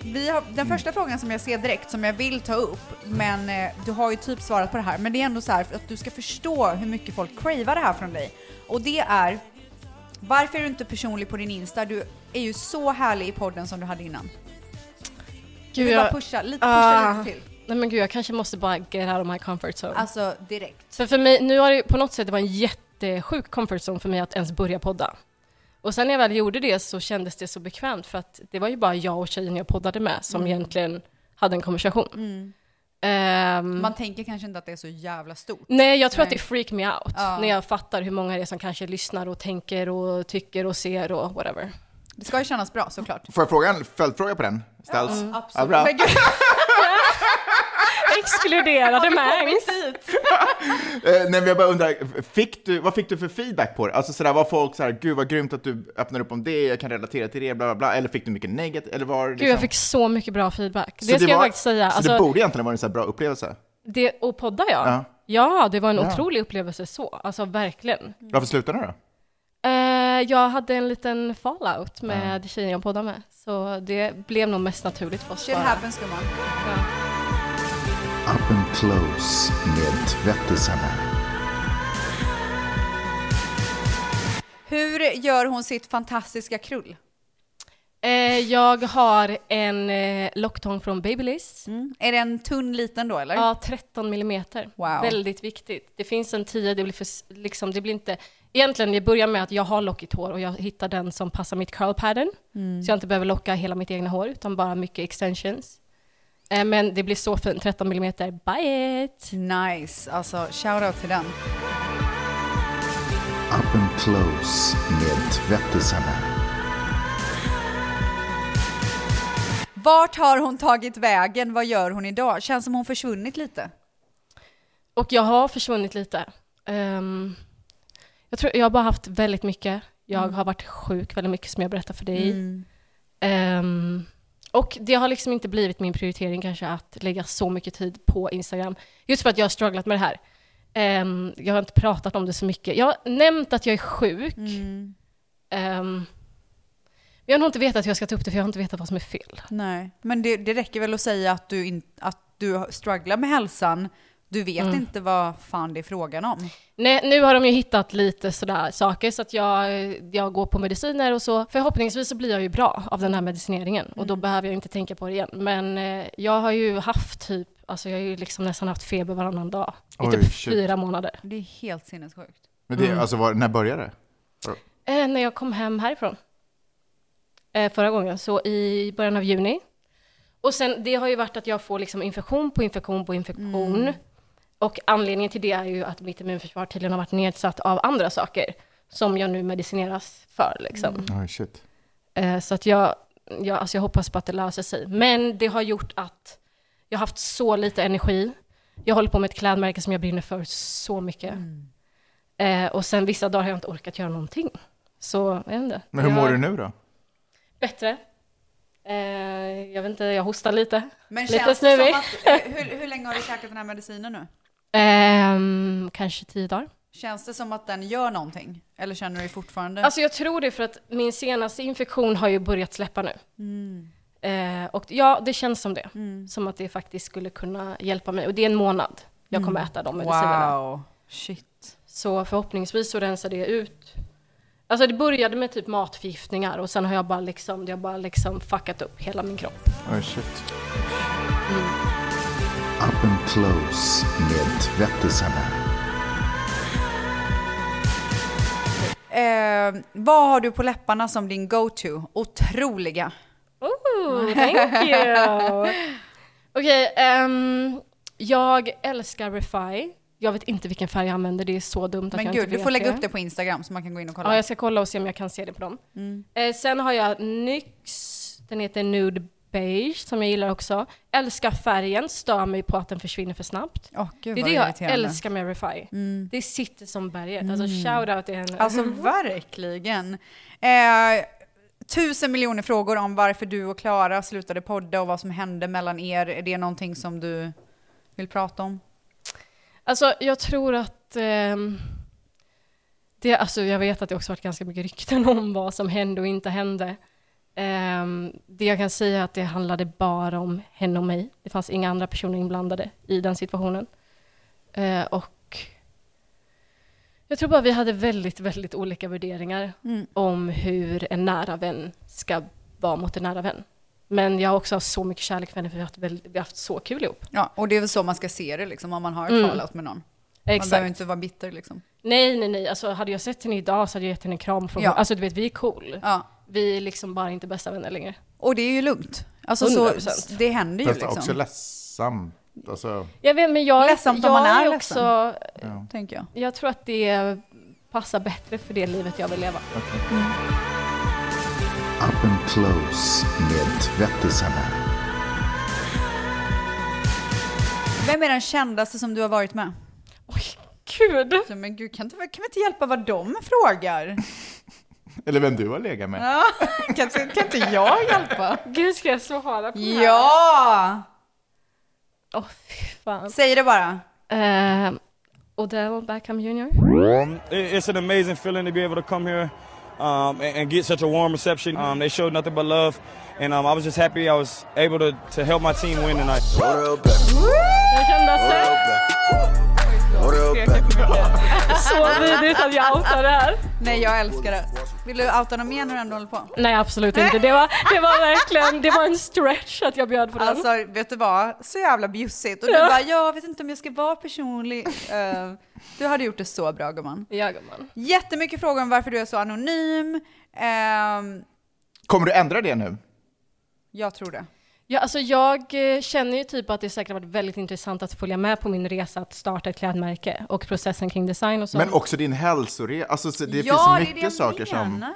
Speaker 4: Vi har, den första frågan som jag ser direkt som jag vill ta upp, men eh, du har ju typ svarat på det här, men det är ändå så här för att du ska förstå hur mycket folk cravar det här från dig. Och det är, varför är du inte personlig på din Insta? Du är ju så härlig i podden som du hade innan.
Speaker 7: Gud,
Speaker 4: vill bara
Speaker 7: jag-
Speaker 4: pusha lite, pusha
Speaker 7: Ah.
Speaker 4: lite till.
Speaker 7: Nej men gud, jag kanske måste bara get out of my comfort zone.
Speaker 4: Alltså direkt.
Speaker 7: För, för mig, nu har det på något sätt varit en jättesjuk comfort zone för mig att ens börja podda. Och sen när jag väl gjorde det så kändes det så bekvämt för att det var ju bara jag och tjejen jag poddade med som
Speaker 4: Mm.
Speaker 7: egentligen hade en konversation. Ehm,
Speaker 4: Man tänker kanske inte att det är så jävla stort.
Speaker 7: Nej, jag tror att det freak me out
Speaker 4: Ja.
Speaker 7: när jag fattar hur många det är som kanske lyssnar och tänker och tycker och ser och whatever.
Speaker 4: Det ska ju kännas bra såklart.
Speaker 5: Får jag fråga en följdfråga på den? Ställs?
Speaker 4: Ja, mm.
Speaker 5: Ja,
Speaker 4: absolut.
Speaker 5: bra.
Speaker 4: Men gud.
Speaker 7: Exkluderade Mangs.
Speaker 5: Eh, nej, men jag bara undrar, fick du, vad fick du för feedback på det? Alltså sådär, var folk såhär, gud vad grymt att du öppnar upp om det, jag kan relatera till det, bla bla bla, eller fick du mycket negativt, eller var det
Speaker 7: Gud, jag fick så mycket bra feedback.
Speaker 5: Så
Speaker 7: det ska jag
Speaker 5: var-
Speaker 7: faktiskt säga.
Speaker 5: Så
Speaker 7: Alltså,
Speaker 5: det borde egentligen vara en så här bra upplevelse?
Speaker 7: det, och podda ja.
Speaker 5: Ja.
Speaker 7: ja. det var en
Speaker 5: Ja.
Speaker 7: otrolig upplevelse så. Alltså verkligen.
Speaker 5: Varför slutade du då?
Speaker 7: Eh, jag hade en liten fallout med tjejen jag poddade med. Så det blev nog mest naturligt för oss.
Speaker 4: Shit
Speaker 7: bara.
Speaker 4: happens gumman.
Speaker 3: Up and close med tvättisarna.
Speaker 4: Hur gör hon sitt fantastiska krull?
Speaker 7: Eh, jag har en eh, locktång från Babyliss.
Speaker 4: Är den tunn liten då eller?
Speaker 7: Ja, 13 millimeter.
Speaker 4: Wow.
Speaker 7: Väldigt viktigt. Det finns en 10, det blir, för, s- liksom, det blir inte Egentligen, det börjar med att jag har lockigt hår och jag hittar den som passar mitt curl pattern.
Speaker 4: Mm.
Speaker 7: Så jag inte behöver locka hela mitt egna hår, utan bara mycket extensions. Eh, Men det blir så fint, 13 mm, buy it!
Speaker 4: Nice, alltså shoutout till den.
Speaker 3: Up and close med tvättisarna.
Speaker 4: Vart har hon tagit vägen? Vad gör hon idag? Känns som hon försvunnit lite.
Speaker 7: Och jag har försvunnit lite. Ehm, jag, tror, jag har bara haft väldigt mycket. Jag
Speaker 4: Mm.
Speaker 7: har varit sjuk väldigt mycket som jag berättar för dig.
Speaker 4: Mm.
Speaker 7: Ehm, och det har liksom inte blivit min prioritering kanske att lägga så mycket tid på Instagram. Just för att jag har strugglat med det här. Ehm, jag har inte pratat om det så mycket. Jag har nämnt att jag är sjuk.
Speaker 4: Mm.
Speaker 7: Ehm, men jag har nog inte vetat hur jag ska ta upp det för jag har inte vetat vad som är fel.
Speaker 4: Nej, men det, det räcker väl att säga att du, in, att du strugglar med hälsan. Du vet
Speaker 7: Mm.
Speaker 4: inte vad fan det är frågan om.
Speaker 7: Nej, nu har de ju hittat lite sådär saker så att jag, jag går på mediciner och så. Förhoppningsvis så blir jag ju bra av den här medicineringen och då behöver jag inte tänka på det igen. Men eh, jag har ju haft typ, alltså jag har ju liksom nästan haft feber varannan dag i
Speaker 5: Oj,
Speaker 7: typ
Speaker 5: shit.
Speaker 7: fyra månader.
Speaker 4: Det är helt sinnessjukt.
Speaker 5: Men det,
Speaker 7: Mm.
Speaker 5: alltså, var, när började det?
Speaker 7: Eh, när jag kom hem härifrån eh, förra gången, så i början av juni. Och sen, det har ju varit att jag får liksom infektion på infektion på infektion.
Speaker 4: Mm.
Speaker 7: Och anledningen till det är ju att mitt immunförsvar tydligen har varit nedsatt av andra saker som jag nu medicineras för. Liksom.
Speaker 5: Oj, shit.
Speaker 7: Eh, så att jag, jag, alltså jag hoppas på att det löser sig. Men det har gjort att jag har haft så lite energi. Jag håller på med ett klädmärke som jag brinner för så mycket. Eh, och sen vissa dagar har jag inte orkat göra någonting. Så, jag vet inte.
Speaker 5: Men hur mår
Speaker 7: jag,
Speaker 5: du nu då?
Speaker 7: Bättre. Eh, jag vet inte, jag hostar lite.
Speaker 4: Men
Speaker 7: lite
Speaker 4: känns det
Speaker 7: snuvig.
Speaker 4: som att, hur, hur länge har du käkat den här medicinen nu?
Speaker 7: Ehm, kanske tio dagar.
Speaker 4: Känns det som att den gör någonting? Eller känner du dig fortfarande?
Speaker 7: Alltså jag tror det för att min senaste infektion har ju börjat släppa nu.
Speaker 4: Mm.
Speaker 7: Eh, och ja, det känns som det. Som att det faktiskt skulle kunna hjälpa mig. Och det är en månad jag kommer
Speaker 4: Mm.
Speaker 7: äta de medicinerna.
Speaker 4: Wow, shit.
Speaker 7: Så förhoppningsvis så rensar det ut. Alltså det började med typ matförgiftningar och sen har jag bara liksom, det har bara liksom fuckat upp hela min kropp.
Speaker 5: Oj, shit.
Speaker 3: Up and close med tvättisarna.
Speaker 4: Eh, vad har du på läpparna som din go-to? Otroliga.
Speaker 7: Oh, thank you! Okej, ehm, jag älskar Refi. Jag vet inte vilken färg jag använder, det är så dumt att
Speaker 4: Men
Speaker 7: jag
Speaker 4: gud,
Speaker 7: inte vet
Speaker 4: du får lägga upp
Speaker 7: det
Speaker 4: det på Instagram så man kan gå in och kolla.
Speaker 7: Ja, jag ska kolla och se om jag kan se det på dem.
Speaker 4: Mm.
Speaker 7: Eh, sen har jag NYX, den heter Nude Beige, som jag gillar också. Älskar färgen, stör mig på att den försvinner för snabbt.
Speaker 4: Åh, gud,
Speaker 7: det är
Speaker 4: vad
Speaker 7: det jag
Speaker 4: irriterande.
Speaker 7: älskar med Refi.
Speaker 4: Mm.
Speaker 7: Det sitter som berget. Alltså
Speaker 4: Mm.
Speaker 7: shout-out till henne.
Speaker 4: Alltså verkligen. Eh, tusen miljoner frågor om varför du och Klara slutade podda och vad som hände mellan er. Är det någonting som du vill prata om?
Speaker 7: Alltså, jag tror att... ehm, det, alltså, jag vet att det också varit ganska mycket rykten om vad som hände och inte hände. Ehm, det jag kan säga är att det handlade bara om henne och mig. Det fanns inga andra personer inblandade i den situationen. Eh, och jag tror bara vi hade väldigt, väldigt olika värderingar
Speaker 4: Mm.
Speaker 7: om hur en nära vän ska vara mot en nära vän. Men jag har också haft så mycket kärlek för henne för vi har haft, väldigt, vi har haft så kul ihop.
Speaker 4: Ja, och det är väl så man ska se det liksom, om man har ett
Speaker 7: Mm.
Speaker 4: fallout med någon. Man
Speaker 7: Exakt.
Speaker 4: behöver inte vara bitter liksom.
Speaker 7: Nej, nej, nej. Alltså, hade jag sett henne idag så hade jag gett henne en kram. Från
Speaker 4: Ja.
Speaker 7: Alltså, du vet, vi är cool.
Speaker 4: Ja.
Speaker 7: Vi är liksom bara inte bästa vänner längre.
Speaker 4: Och det är ju lugnt. Alltså, så,
Speaker 7: 100%.
Speaker 4: det händer ju
Speaker 5: Fast
Speaker 4: liksom.
Speaker 5: också ledsamt. Alltså,
Speaker 7: Jag vet, men jag,
Speaker 4: Ledsamt
Speaker 7: jag
Speaker 4: om man är
Speaker 7: är
Speaker 4: ledsen.
Speaker 7: också...
Speaker 5: ja.
Speaker 4: Tänker jag.
Speaker 7: Jag tror att det passar bättre för det livet jag vill leva.
Speaker 3: Up and close med tvättisarna.
Speaker 4: Vem är den kändaste som du har varit med?
Speaker 7: Oj, gud!
Speaker 4: Så, men gud, kan, inte, kan vi inte hjälpa vad de frågar?
Speaker 5: Eller vem du har legat med.
Speaker 4: Ja, kan, inte- kan inte jag hjälpa?
Speaker 7: Gud, ska jag svara på det här?
Speaker 4: Ja!
Speaker 7: Åh, fy fan.
Speaker 4: Säg det bara.
Speaker 7: Uh, Odell Beckham Jr.
Speaker 16: It- It's an amazing feeling to be able to come here um, and, and get such a warm reception. Um, they showed nothing but love, and um, I was just happy I was able to, to help my team win tonight.
Speaker 7: Den kändaste. Så vidrigt att jag outar det här.
Speaker 4: Nej, jag älskar det. Vill du outa dem igen när du ändå håller på?
Speaker 7: Nej, absolut inte. Det var, det var verkligen det var en stretch att jag bjöd på den.
Speaker 4: Alltså, vet du vad? Så jävla bjussigt. Och du
Speaker 7: Ja.
Speaker 4: bara, jag vet inte om jag ska vara personlig. Eh, du hade gjort det så bra, gumman.
Speaker 7: Ja, gumman.
Speaker 4: Jättemycket frågor om varför du är så anonym. Ehm,
Speaker 5: Kommer du ändra det nu?
Speaker 4: jag tror det.
Speaker 7: Ja, alltså jag eh, känner ju typ att det säkert har varit väldigt intressant att följa med på min resa att starta ett klädmärke och processen kring design och sånt.
Speaker 5: Men också din hälsoresa. Alltså, så det
Speaker 7: Ja, det är
Speaker 5: finns
Speaker 7: det
Speaker 5: mycket
Speaker 7: jag
Speaker 5: saker som...
Speaker 4: menar.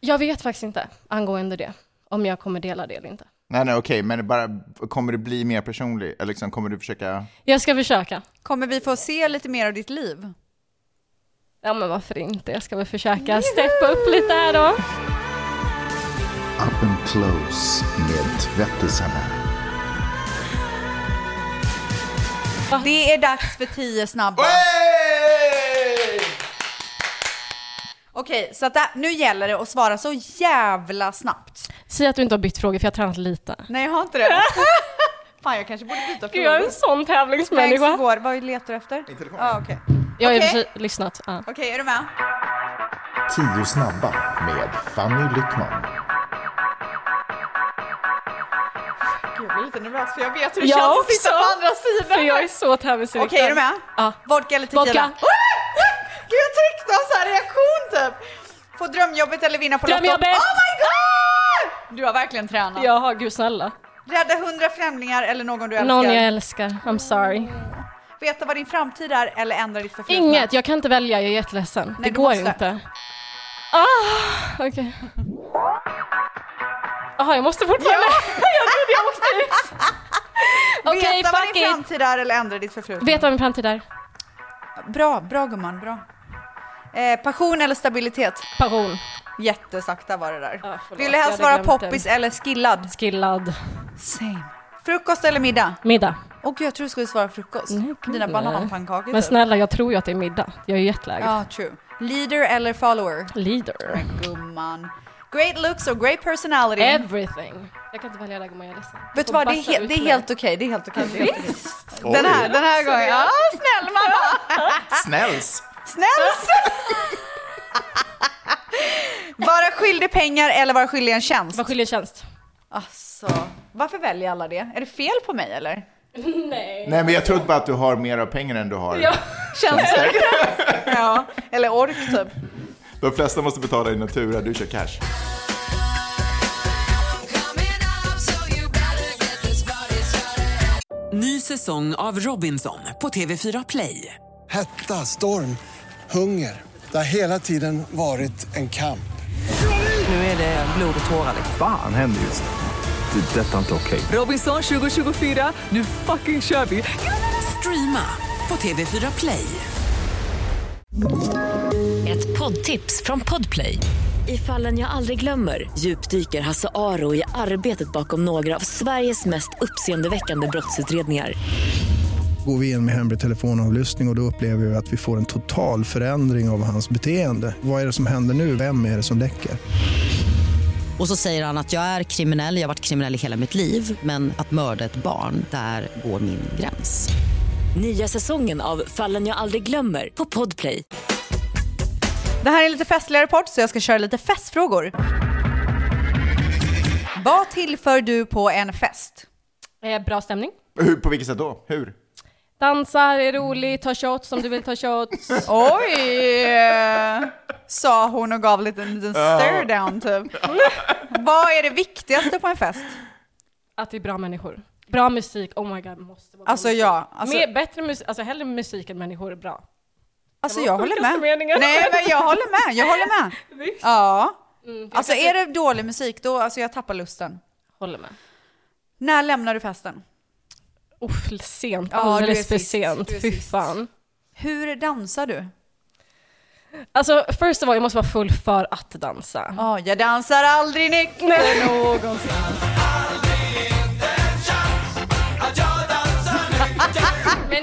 Speaker 7: Jag vet faktiskt inte angående det, om jag kommer dela det eller inte.
Speaker 5: Nej, nej, okej, men bara, kommer du bli mer personlig? Eller liksom, kommer du försöka...
Speaker 7: Jag ska försöka.
Speaker 4: Kommer vi få se lite mer av ditt liv?
Speaker 7: Ja, men varför inte? Jag ska väl försöka steppa upp lite här då.
Speaker 3: Up and close med tvättisarna.
Speaker 4: Det är dags för tio snabba. Okej, så att där, nu gäller det att svara så jävla snabbt.
Speaker 7: Säg att du inte har bytt frågor, för jag har tränat lite.
Speaker 4: Nej, jag har inte det. Fan, jag kanske borde byta frågor.
Speaker 7: Gud, jag är en sån tävlingsmänniska.
Speaker 4: Thanks igår. Vad letar du efter? Ja, okej.
Speaker 7: Jag har i och för
Speaker 4: Okej.
Speaker 7: sig lyssnat. Ja.
Speaker 4: Okej, är du med?
Speaker 3: Tio snabba med Fanny Lyckman.
Speaker 7: Ah.
Speaker 4: Gud, jag blir lite nervös för jag vet hur det
Speaker 7: Jag
Speaker 4: känns att sitta
Speaker 7: också,
Speaker 4: på andra sidan.
Speaker 7: för jag är så tävlingsinriktad.
Speaker 4: Okej, är du med?
Speaker 7: Ja.
Speaker 4: Vodka eller tequila?
Speaker 7: Vodka.
Speaker 4: Gud, jag tryckte av så här reaktion typ. Få drömjobbet eller vinna på Lotto?
Speaker 7: Drömjobbet!
Speaker 4: Oh my god! Du har verkligen tränat.
Speaker 7: Jaha, gud snälla.
Speaker 4: Rädda hundra främlingar eller någon du älskar?
Speaker 7: Någon jag älskar. I'm sorry.
Speaker 4: Veta vad din framtid är eller ändra ditt förflutna?
Speaker 7: Inget, jag kan inte välja, jag är jätteledsen.
Speaker 4: Nej,
Speaker 7: det
Speaker 4: du
Speaker 7: går
Speaker 4: måste.
Speaker 7: ju inte. Ah, okej. Jaha, jag måste fortfarande... jag trodde jag måste ut. Okej,
Speaker 4: Veta vad
Speaker 7: fuck
Speaker 4: din
Speaker 7: it.
Speaker 4: framtid är eller ändra ditt förflutna?
Speaker 7: Vet vad min framtid är?
Speaker 4: Bra, bra gumman, bra. Eh, passion eller stabilitet?
Speaker 7: Passion.
Speaker 4: Jättesakta var det där.
Speaker 7: förlåt,
Speaker 4: Vill du helst
Speaker 7: jag hade
Speaker 4: vara
Speaker 7: glömt
Speaker 4: poppis
Speaker 7: den.
Speaker 4: eller skillad?
Speaker 7: Skillad.
Speaker 4: Same. Frukost eller middag?
Speaker 7: Middag.
Speaker 4: Åh gud, jag tror du skulle svara frukost. Dina bananpannkakor
Speaker 7: Mm, Men
Speaker 4: typ.
Speaker 7: snälla, jag tror ju att det är middag. Jag är ju jätteläget.
Speaker 4: Ja, true. Leader eller follower?
Speaker 7: Leader.
Speaker 4: Gumman. Great looks or great personality?
Speaker 7: Everything. Jag kan inte välja det gumman, jag är ledsen.
Speaker 4: Vet du
Speaker 7: får
Speaker 4: vad, det är,
Speaker 7: bassa
Speaker 4: he-
Speaker 7: ut
Speaker 4: det är
Speaker 7: mig.
Speaker 4: helt okej. Det är helt okej. det är helt okej.
Speaker 7: Visst.
Speaker 4: Den här, den här gången. Ja, snäll mamma!
Speaker 5: Snälls!
Speaker 4: Snälls! vara skyldig pengar eller vara skyldig en tjänst? Vara
Speaker 7: skyldig en tjänst.
Speaker 4: Alltså, varför väljer alla det? Är det fel på mig eller?
Speaker 7: Nej.
Speaker 5: Nej, men jag tror bara att du har mer av pengar än du har.
Speaker 4: Ja, tjänster. ja, eller ork typ.
Speaker 5: De flesta måste betala i natura, du kör cash.
Speaker 1: Ny säsong av Robinson på TV4 Play.
Speaker 2: Hetta, storm, hunger. Det har hela tiden varit en kamp.
Speaker 1: Nu är det blod och tårar. liksom.
Speaker 17: Fan händer just nu. Det. är Detta är inte okej.
Speaker 1: Robinson 2024, nu fucking kör vi! Streama på TV4 Play.
Speaker 9: Ett poddtips från Podplay. I fallen jag aldrig glömmer djupdyker Hasse Aro i arbetet bakom några av Sveriges mest uppseendeväckande brottsutredningar.
Speaker 18: Går vi in med hemlig telefonavlyssning och, och då upplever vi att vi får en total förändring av hans beteende. Vad är det som händer nu? Vem är det som läcker?
Speaker 19: Och så säger han att jag är kriminell, jag har varit kriminell i hela mitt liv men att mörda ett barn, där går min gräns.
Speaker 9: Nya säsongen av Fallen jag aldrig glömmer på Podplay.
Speaker 4: Det här är en lite festligare podd så jag ska köra lite festfrågor. Vad tillför du på en fest?
Speaker 7: Eh, bra stämning.
Speaker 5: Hur, på vilket sätt då? Hur?
Speaker 7: Dansar, är rolig, tar shots om du vill ta shots.
Speaker 4: Oj! Sa hon och gav lite, en liten
Speaker 7: Ja.
Speaker 4: stare down typ. Vad är det viktigaste på en fest?
Speaker 7: Att det är bra människor. Bra musik, oh my god, måste vara bra
Speaker 4: Alltså,
Speaker 7: musik.
Speaker 4: ja, alltså-
Speaker 7: Mer, bättre musik, alltså hellre musik än människor är bra.
Speaker 4: Alltså
Speaker 7: var
Speaker 4: jag håller
Speaker 7: sjukaste
Speaker 4: med.
Speaker 7: meningen.
Speaker 4: Nej men jag håller med, jag håller med.
Speaker 7: Visst.
Speaker 4: Ja.
Speaker 7: Mm, för
Speaker 4: Alltså
Speaker 7: jag kan
Speaker 4: är det dålig musik då, alltså jag tappar lusten.
Speaker 7: Håller med.
Speaker 4: När lämnar du festen?
Speaker 7: Uff, sent,
Speaker 4: Ja, du är
Speaker 7: alldeles för
Speaker 4: sist.
Speaker 7: sent,
Speaker 4: Du är
Speaker 7: fy
Speaker 4: sist.
Speaker 7: fan.
Speaker 4: Hur dansar du?
Speaker 7: Alltså first of all, jag måste vara full för att dansa.
Speaker 4: Ja, jag dansar aldrig nykter någonsin.
Speaker 7: Men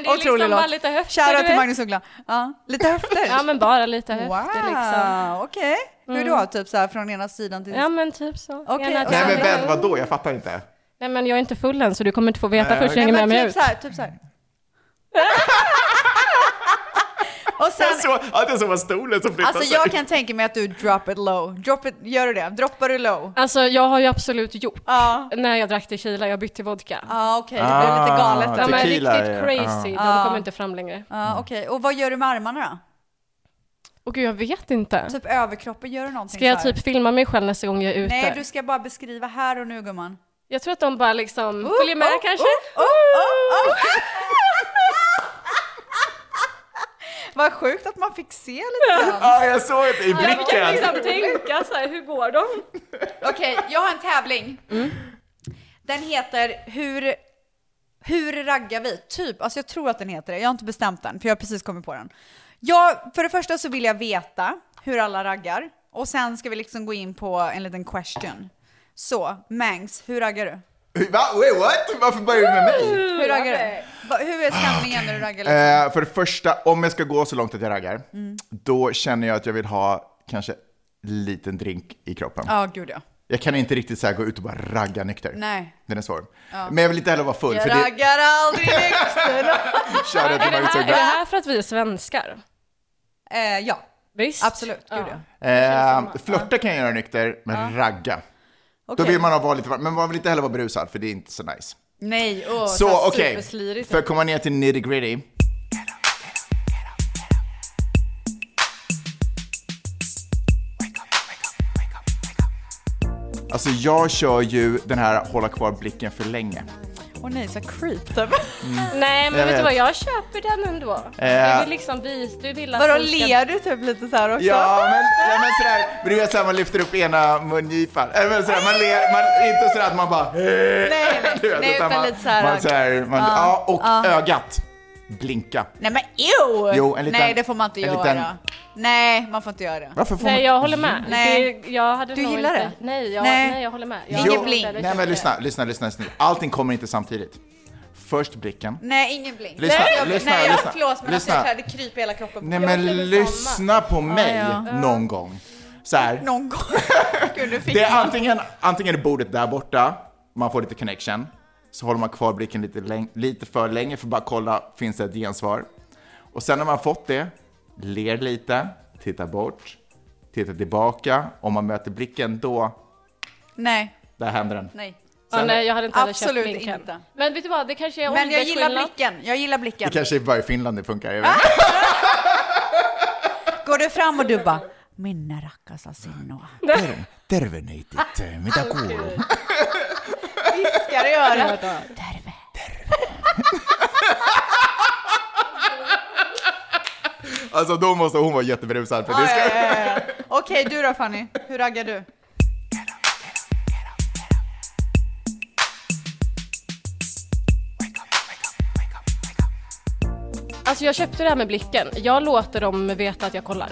Speaker 7: det är liksom bara lite höfter, du
Speaker 4: Shoutout till
Speaker 7: vet.
Speaker 4: Magnus Uggla. Ja, lite höfter.
Speaker 7: Ja men bara lite höfter
Speaker 4: Wow,
Speaker 7: liksom.
Speaker 4: okej. Hur
Speaker 7: Mm.
Speaker 4: då? Typ så här från ena sidan till...
Speaker 7: Ja men typ så.
Speaker 4: Okej,
Speaker 7: Gärna
Speaker 4: och
Speaker 7: till
Speaker 5: Nej, men
Speaker 7: andra.
Speaker 5: vänta, vadå? Jag fattar inte.
Speaker 7: Nej men jag är inte full än så du kommer inte få veta
Speaker 5: Nej,
Speaker 7: först
Speaker 5: okej.
Speaker 7: jag hänger med
Speaker 4: typ
Speaker 7: mig ut.
Speaker 4: så här, typ så här. Och sen,
Speaker 5: Jag såg att det så var stolen som flyttade
Speaker 4: alltså
Speaker 5: sig.
Speaker 4: jag kan tänka mig att du drop it low. Drop it, gör du det? Droppar du low?
Speaker 7: Alltså jag har ju absolut gjort. När jag drack tequila, jag bytte till vodka.
Speaker 4: Ja okej, det blev lite galet.
Speaker 7: Ja, men riktigt
Speaker 5: tequila är-
Speaker 7: crazy,
Speaker 4: ja.
Speaker 7: de kommer inte fram längre.
Speaker 4: Ja, okej. Och vad gör du med armarna då?
Speaker 7: Och gud, jag vet inte.
Speaker 4: Typ överkroppen, gör du någonting
Speaker 7: Ska jag
Speaker 4: så här?
Speaker 7: typ filma mig själv nästa gång jag är ute?
Speaker 4: Nej, du ska bara beskriva här och nu gumman.
Speaker 7: Jag tror att de bara liksom
Speaker 4: Oh,
Speaker 7: följer med
Speaker 4: oh,
Speaker 7: kanske.
Speaker 4: oh, oh, oh. Vad sjukt att man fick se lite grann.
Speaker 5: Ja, jag såg det i
Speaker 7: Jag kan liksom
Speaker 5: blicken.
Speaker 7: tänka så här, hur går de?
Speaker 4: Okej, jag har en tävling. Den heter Hur, hur raggar vi? Typ, alltså jag tror att den heter det. Jag har inte bestämt den, för jag har precis kommit på den. Jag, för det första så vill jag veta hur alla raggar. Och sen ska vi liksom gå in på en liten question. Så, Mangs, hur raggar du?
Speaker 5: Va? Wait, what? Varför börjar du med mig?
Speaker 4: Hur raggar du? Va- Hur är stämningen när du raggar? Liksom?
Speaker 5: Eh, för det första, om jag ska gå så långt att jag raggar,
Speaker 4: Mm.
Speaker 5: då känner jag att jag vill ha kanske en liten drink i kroppen.
Speaker 4: Ja, gud ja.
Speaker 5: Jag kan inte riktigt så här gå ut och bara ragga nykter.
Speaker 4: Nej.
Speaker 5: Den är svår.
Speaker 4: Ja.
Speaker 5: Men jag vill inte heller vara full,
Speaker 4: Jag
Speaker 5: för det
Speaker 4: raggar aldrig nykter.
Speaker 5: kör jag till
Speaker 7: Är det, här, är det
Speaker 5: Margit
Speaker 7: här för att vi är svenskar?
Speaker 4: eh, ja.
Speaker 7: Visst?
Speaker 4: Absolut, gud ja.
Speaker 5: eh, Flörta kan jag göra nykter, men ragga. Då
Speaker 4: Okej.
Speaker 5: vill man ha- vara lite varm, men man vill inte heller vara berusad, för det är inte så nice.
Speaker 4: Nej, åh,
Speaker 5: så okej,
Speaker 4: superslirigt.
Speaker 5: för att komma ner till nitty gritty. Alltså jag kör ju den här hålla kvar blicken för länge.
Speaker 4: Åh nej, så creep typ.
Speaker 7: Nej, men
Speaker 5: Jag
Speaker 7: vet, du
Speaker 5: vet.
Speaker 7: vad, jag köper den ändå.
Speaker 5: Eh.
Speaker 7: Du vill liksom visa, du vill att
Speaker 4: Vadå,
Speaker 7: folk ska-
Speaker 4: ler du typ lite så här också?
Speaker 5: Ja, men, ja, men sådär, men du vet såhär man lyfter upp ena mungipan. Äh, men sådär, man ler, man, inte sådär att man bara... Nej,
Speaker 4: nej, nej, utan
Speaker 5: man,
Speaker 4: lite så här-
Speaker 5: Man, såhär, man,
Speaker 4: Ja,
Speaker 5: ja, och
Speaker 4: ja.
Speaker 5: ögat. Blinka.
Speaker 4: Nej men ew!
Speaker 5: Jo, en liten-
Speaker 4: Nej det får man inte
Speaker 5: en
Speaker 4: göra.
Speaker 5: liten-
Speaker 4: Nej, man får inte göra det.
Speaker 5: Varför får
Speaker 7: Nej,
Speaker 5: man...
Speaker 7: jag håller med.
Speaker 4: Mm. Nej.
Speaker 7: Det, jag hade
Speaker 4: Du
Speaker 7: nog
Speaker 4: gillar
Speaker 7: inte,
Speaker 4: det?
Speaker 7: Nej jag,
Speaker 4: Nej.
Speaker 7: nej. jag håller med. Jag
Speaker 4: Ingen
Speaker 7: hade inte
Speaker 4: blink.
Speaker 7: heller
Speaker 5: Nej
Speaker 7: köpt
Speaker 5: men
Speaker 7: det.
Speaker 5: lyssna, lyssna, lyssna, lyssna. Allting kommer inte samtidigt. Först blicken.
Speaker 4: Nej, ingen blink.
Speaker 5: Lyssna,
Speaker 4: nej, jag,
Speaker 5: lyssna,
Speaker 4: nej, jag,
Speaker 5: lyssna,
Speaker 4: förlåt men
Speaker 5: lyssna.
Speaker 4: alltså jag det kryper i hela kroppen. på
Speaker 5: Nej
Speaker 4: mig.
Speaker 5: men lyssna på mig
Speaker 4: Ja, ja.
Speaker 5: någon gång. Så här.
Speaker 4: Någon gång. Gud, du fick
Speaker 5: Det är antingen, antingen är bordet där borta, man får lite connection, så håller man kvar blicken lite, läng- lite för länge för att bara kolla, finns det ett gensvar? Och sen när man fått det, ler lite, tittar bort, tittar tillbaka, om man möter blicken då,
Speaker 4: Nej,
Speaker 5: där händer den.
Speaker 4: nej.
Speaker 7: Ja, nej, jag hade inte heller
Speaker 4: Absolut
Speaker 7: köpt blinken.
Speaker 4: inte.
Speaker 7: Men vet du vad, det kanske är
Speaker 4: Men jag gillar
Speaker 7: åldersskillnad.
Speaker 4: blicken, jag gillar blicken.
Speaker 5: Det kanske är bara i Finland det funkar, jag vet inte.
Speaker 4: Går du fram och du bara Minna rackas asinoa.
Speaker 5: Ter- Terveneitit, eh, mitä kuuluu?
Speaker 4: Viskar i örat.
Speaker 5: Alltså då måste hon vara jätteberusad för det
Speaker 4: Ja,
Speaker 5: ska...
Speaker 4: ja, ja, ja. Okej, du då Fanny? Hur raggar du?
Speaker 7: Alltså jag köpte det här med blicken. Jag låter dem veta att jag kollar.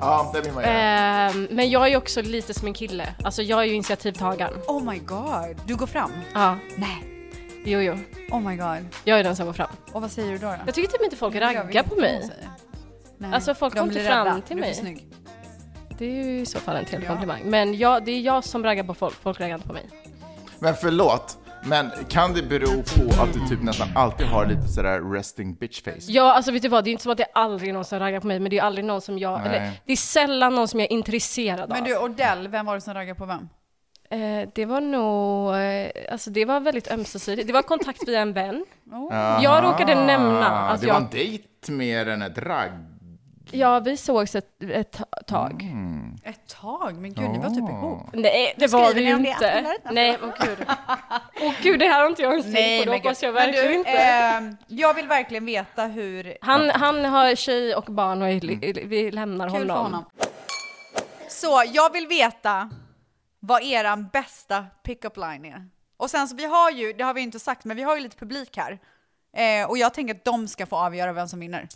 Speaker 5: Ja, det vill man göra.
Speaker 7: Ehm, men jag är ju också lite som en kille. Alltså jag är ju initiativtagaren.
Speaker 4: Oh my god, du går fram?
Speaker 7: Ja.
Speaker 4: Nej.
Speaker 7: Jo, jo.
Speaker 4: Oh my god.
Speaker 7: Jag är den som går fram.
Speaker 4: Och vad säger du då? då?
Speaker 7: Jag tycker typ inte folk
Speaker 4: Jag vet
Speaker 7: raggar
Speaker 4: inte
Speaker 7: på
Speaker 4: vad hon
Speaker 7: mig.
Speaker 4: säger. Nej.
Speaker 7: Alltså, folk
Speaker 4: De
Speaker 7: kom inte
Speaker 4: blir
Speaker 7: fram
Speaker 4: rädda.
Speaker 7: till
Speaker 4: Du är
Speaker 7: mig.
Speaker 4: för snygg.
Speaker 7: Det är ju i så fall en trevlig
Speaker 4: Ja.
Speaker 7: komplimang. Men jag, det är jag som raggar på folk. Folk raggar inte på mig.
Speaker 5: Men förlåt, men kan det bero på att du typ nästan alltid har lite sådär resting bitch face?
Speaker 7: Ja, alltså vet du vad, det är inte som att det är aldrig någon som raggar på mig, men det är aldrig någon som jag,
Speaker 5: Nej.
Speaker 7: eller det är sällan någon som jag är intresserad
Speaker 4: Men
Speaker 7: av.
Speaker 4: du Odell, vem var det som raggade på vem?
Speaker 7: Eh, det var nog, eh, alltså det var väldigt ömsesidigt. Det var kontakt via en vän.
Speaker 4: Oh.
Speaker 5: Aha,
Speaker 7: Jag råkade nämna att
Speaker 5: Ah. Det
Speaker 7: alltså jag,
Speaker 5: var en dejt mer än ett ragg.
Speaker 7: ja vi sågs ett, ett tag.
Speaker 4: Ett tag? Men gud, ni var typ ihop.
Speaker 7: Nej, det
Speaker 4: Skriver
Speaker 7: var vi
Speaker 4: ni
Speaker 7: ju
Speaker 4: om det i
Speaker 7: inte.
Speaker 4: Aftonbladet?
Speaker 7: Nej, åh gud. Åh gud, det här har inte jag ens tänkt på, det hoppas jag verkligen
Speaker 4: men du,
Speaker 7: inte.
Speaker 4: ehm, jag vill verkligen veta hur...
Speaker 7: han, han har tjej och barn och vi- vi lämnar
Speaker 4: Kul för
Speaker 7: honom.
Speaker 4: honom. Så jag vill veta vad eran bästa pick-up line är. Och sen så vi har ju, det har vi inte sagt, men vi har ju lite publik här. Eh, och jag tänker att de ska få avgöra vem som vinner.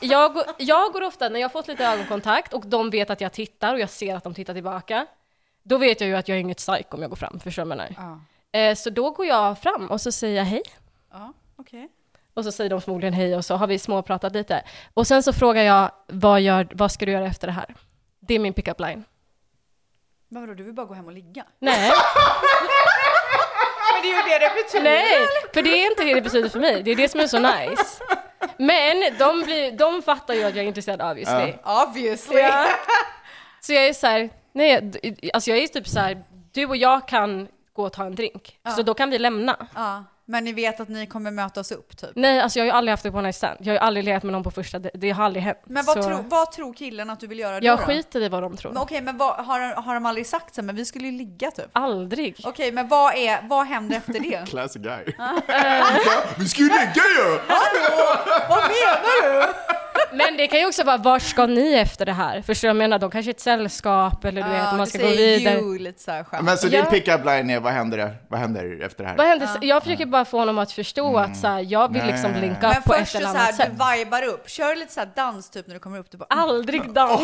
Speaker 7: Jag, går- jag går ofta, när jag har fått lite ögonkontakt och de vet att jag tittar och jag ser att de tittar tillbaka, då vet jag ju att jag är inget psyk om jag går fram, förstår du vad jag menar? Eh, så då går jag fram och så säger jag hej,
Speaker 4: Ja, okej.
Speaker 7: och så säger de förmodligen hej och så har vi småpratat lite. Och sen så frågar jag, vad, gör, vad ska du göra efter det här? Det är min pick-up line.
Speaker 4: Men vadå, du vill bara gå hem och ligga?
Speaker 7: Nej.
Speaker 4: Men det är ju det det betyder!
Speaker 7: Nej, för det är inte det det betyder för mig. Det är det som är så nice. Men de, blir, de fattar ju att jag är intresserad obviously.
Speaker 4: Obviously!
Speaker 7: Ja. Så jag är så här, nej, d- alltså jag är typ så här, du och jag kan gå och ta en drink.
Speaker 4: Ja.
Speaker 7: Så då kan vi lämna.
Speaker 4: Ja, Men ni vet att ni kommer möta oss upp typ?
Speaker 7: Nej, alltså jag har ju aldrig haft en one night stand. Jag har ju aldrig legat med någon på första, det, det har aldrig hänt.
Speaker 4: Men vad,
Speaker 7: Så
Speaker 4: tror- vad tror killen att du vill göra då?
Speaker 7: Jag
Speaker 4: då?
Speaker 7: skiter i vad de tror.
Speaker 4: Men okej, men vad, har, har de aldrig sagt så? här, Men vi skulle ju ligga typ?
Speaker 7: Ah. Aldrig.
Speaker 4: Okej, men vad, är, vad händer efter det?
Speaker 5: Classic guy.
Speaker 7: Vi ska ju ligga ju!
Speaker 4: vad menar du?
Speaker 7: Men det kan ju också vara, var ska ni efter det här? Förstår du vad jag menar? De kanske är ett sällskap eller du vet, man ska gå vidare.
Speaker 4: ju lite så här skönt.
Speaker 5: Men så
Speaker 7: Ja.
Speaker 5: din pick-up line är, vad händer, där? vad händer efter det här?
Speaker 7: Vad händer? Jag försöker bara få honom att förstå att så här, jag vill
Speaker 5: Nej.
Speaker 7: liksom linka
Speaker 4: Men
Speaker 7: upp på
Speaker 4: först
Speaker 7: ett
Speaker 4: så
Speaker 7: eller
Speaker 4: här,
Speaker 7: annat sätt.
Speaker 4: du vibar upp. Kör lite så här dans typ när du kommer upp. Du bara,
Speaker 7: Aldrig dans!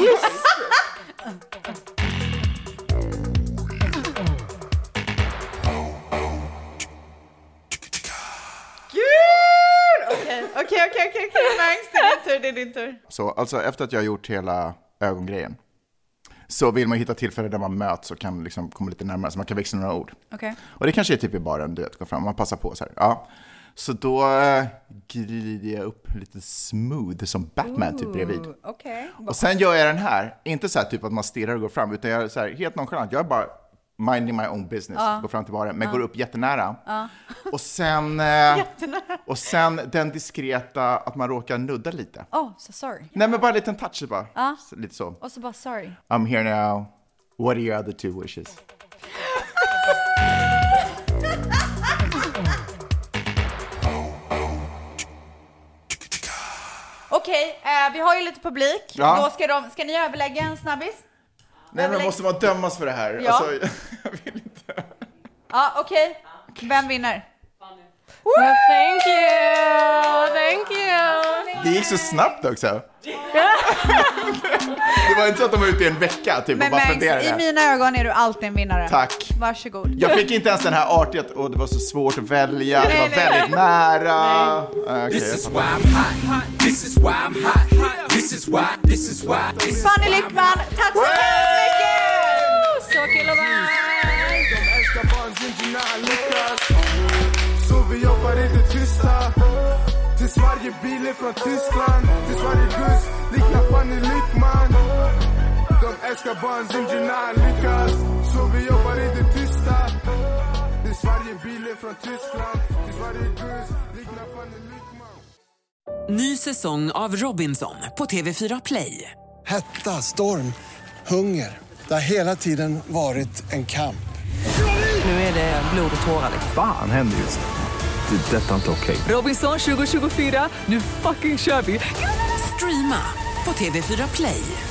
Speaker 4: Gud! Okej, okej, okej, okej, okej, Mangs, det är din tur, det är din tur.
Speaker 5: Så alltså efter att jag har gjort hela ögongrejen så vill man hitta tillfällen där man möts och kan liksom komma lite närmare så man kan växla några ord.
Speaker 4: Okej.
Speaker 5: Och det kanske är typ i baren, du vet, gå fram, man passar på så här. Ja. Så då eh, glider jag upp lite smooth som Batman typ bredvid.
Speaker 4: Okej.
Speaker 5: Och sen gör jag den här, inte så här typ att man stirrar och går fram, utan jag är så här helt nonchalant, jag är bara minding my own business,
Speaker 4: Ja.
Speaker 5: går fram till baren, men
Speaker 4: Ja.
Speaker 5: går upp jättenära.
Speaker 4: Ja.
Speaker 5: Och sen, eh,
Speaker 4: Jättenära.
Speaker 5: och sen den diskreta att man råkar nudda lite.
Speaker 4: Oh, so sorry.
Speaker 5: Nej men bara en liten touch bara.
Speaker 4: Ja.
Speaker 5: Så- Lite så.
Speaker 4: Och så bara sorry.
Speaker 5: I'm here now. What are your other two wishes?
Speaker 4: Okej, eh, vi har ju lite publik.
Speaker 5: Ja.
Speaker 4: Då ska, de, ska ni överlägga en snabbis?
Speaker 5: Nej men måste man dömas för det här?
Speaker 4: Ja.
Speaker 5: Alltså,
Speaker 4: Ja, okej. Vem vinner?
Speaker 7: Well, thank you! Thank you!
Speaker 5: det gick så snabbt också. Det var inte så att de var ute i en vecka typ,
Speaker 4: Men
Speaker 5: och bara
Speaker 4: Mangs, i
Speaker 5: funderade.
Speaker 4: mina ögon är du alltid en vinnare.
Speaker 5: Tack.
Speaker 4: Varsågod.
Speaker 5: Jag fick inte ens den här artighet och det var så svårt att välja, det
Speaker 4: Nej,
Speaker 5: var
Speaker 4: nej.
Speaker 5: väldigt nära. Ah, okej, jag fattar.
Speaker 20: This is why I'm hot. This is why. This is why. This is
Speaker 4: Fanny Lyckman, tack så hemskt mycket! Så kul att vara
Speaker 20: älskar barn sin dina lyckas Så vi jobbar inte tysta Tills varje bil är från Tyskland Tills varje buss liknar Fanny Lyckman De älskar barn sin dina lyckas Så vi jobbar inte tysta Tills varje bil är från Tyskland Tills varje buss liknar Fanny Lyckman
Speaker 1: Ny säsong av Robinson på TV4 Play.
Speaker 2: Hetta, storm, hunger. Det har hela tiden varit en kamp.
Speaker 1: Nu är det blod och tårar. liksom.
Speaker 17: Fan händer just nu. Det. är Detta är inte okej.
Speaker 1: Robinson 2024, nu fucking kör vi! Streama på TV4 Play.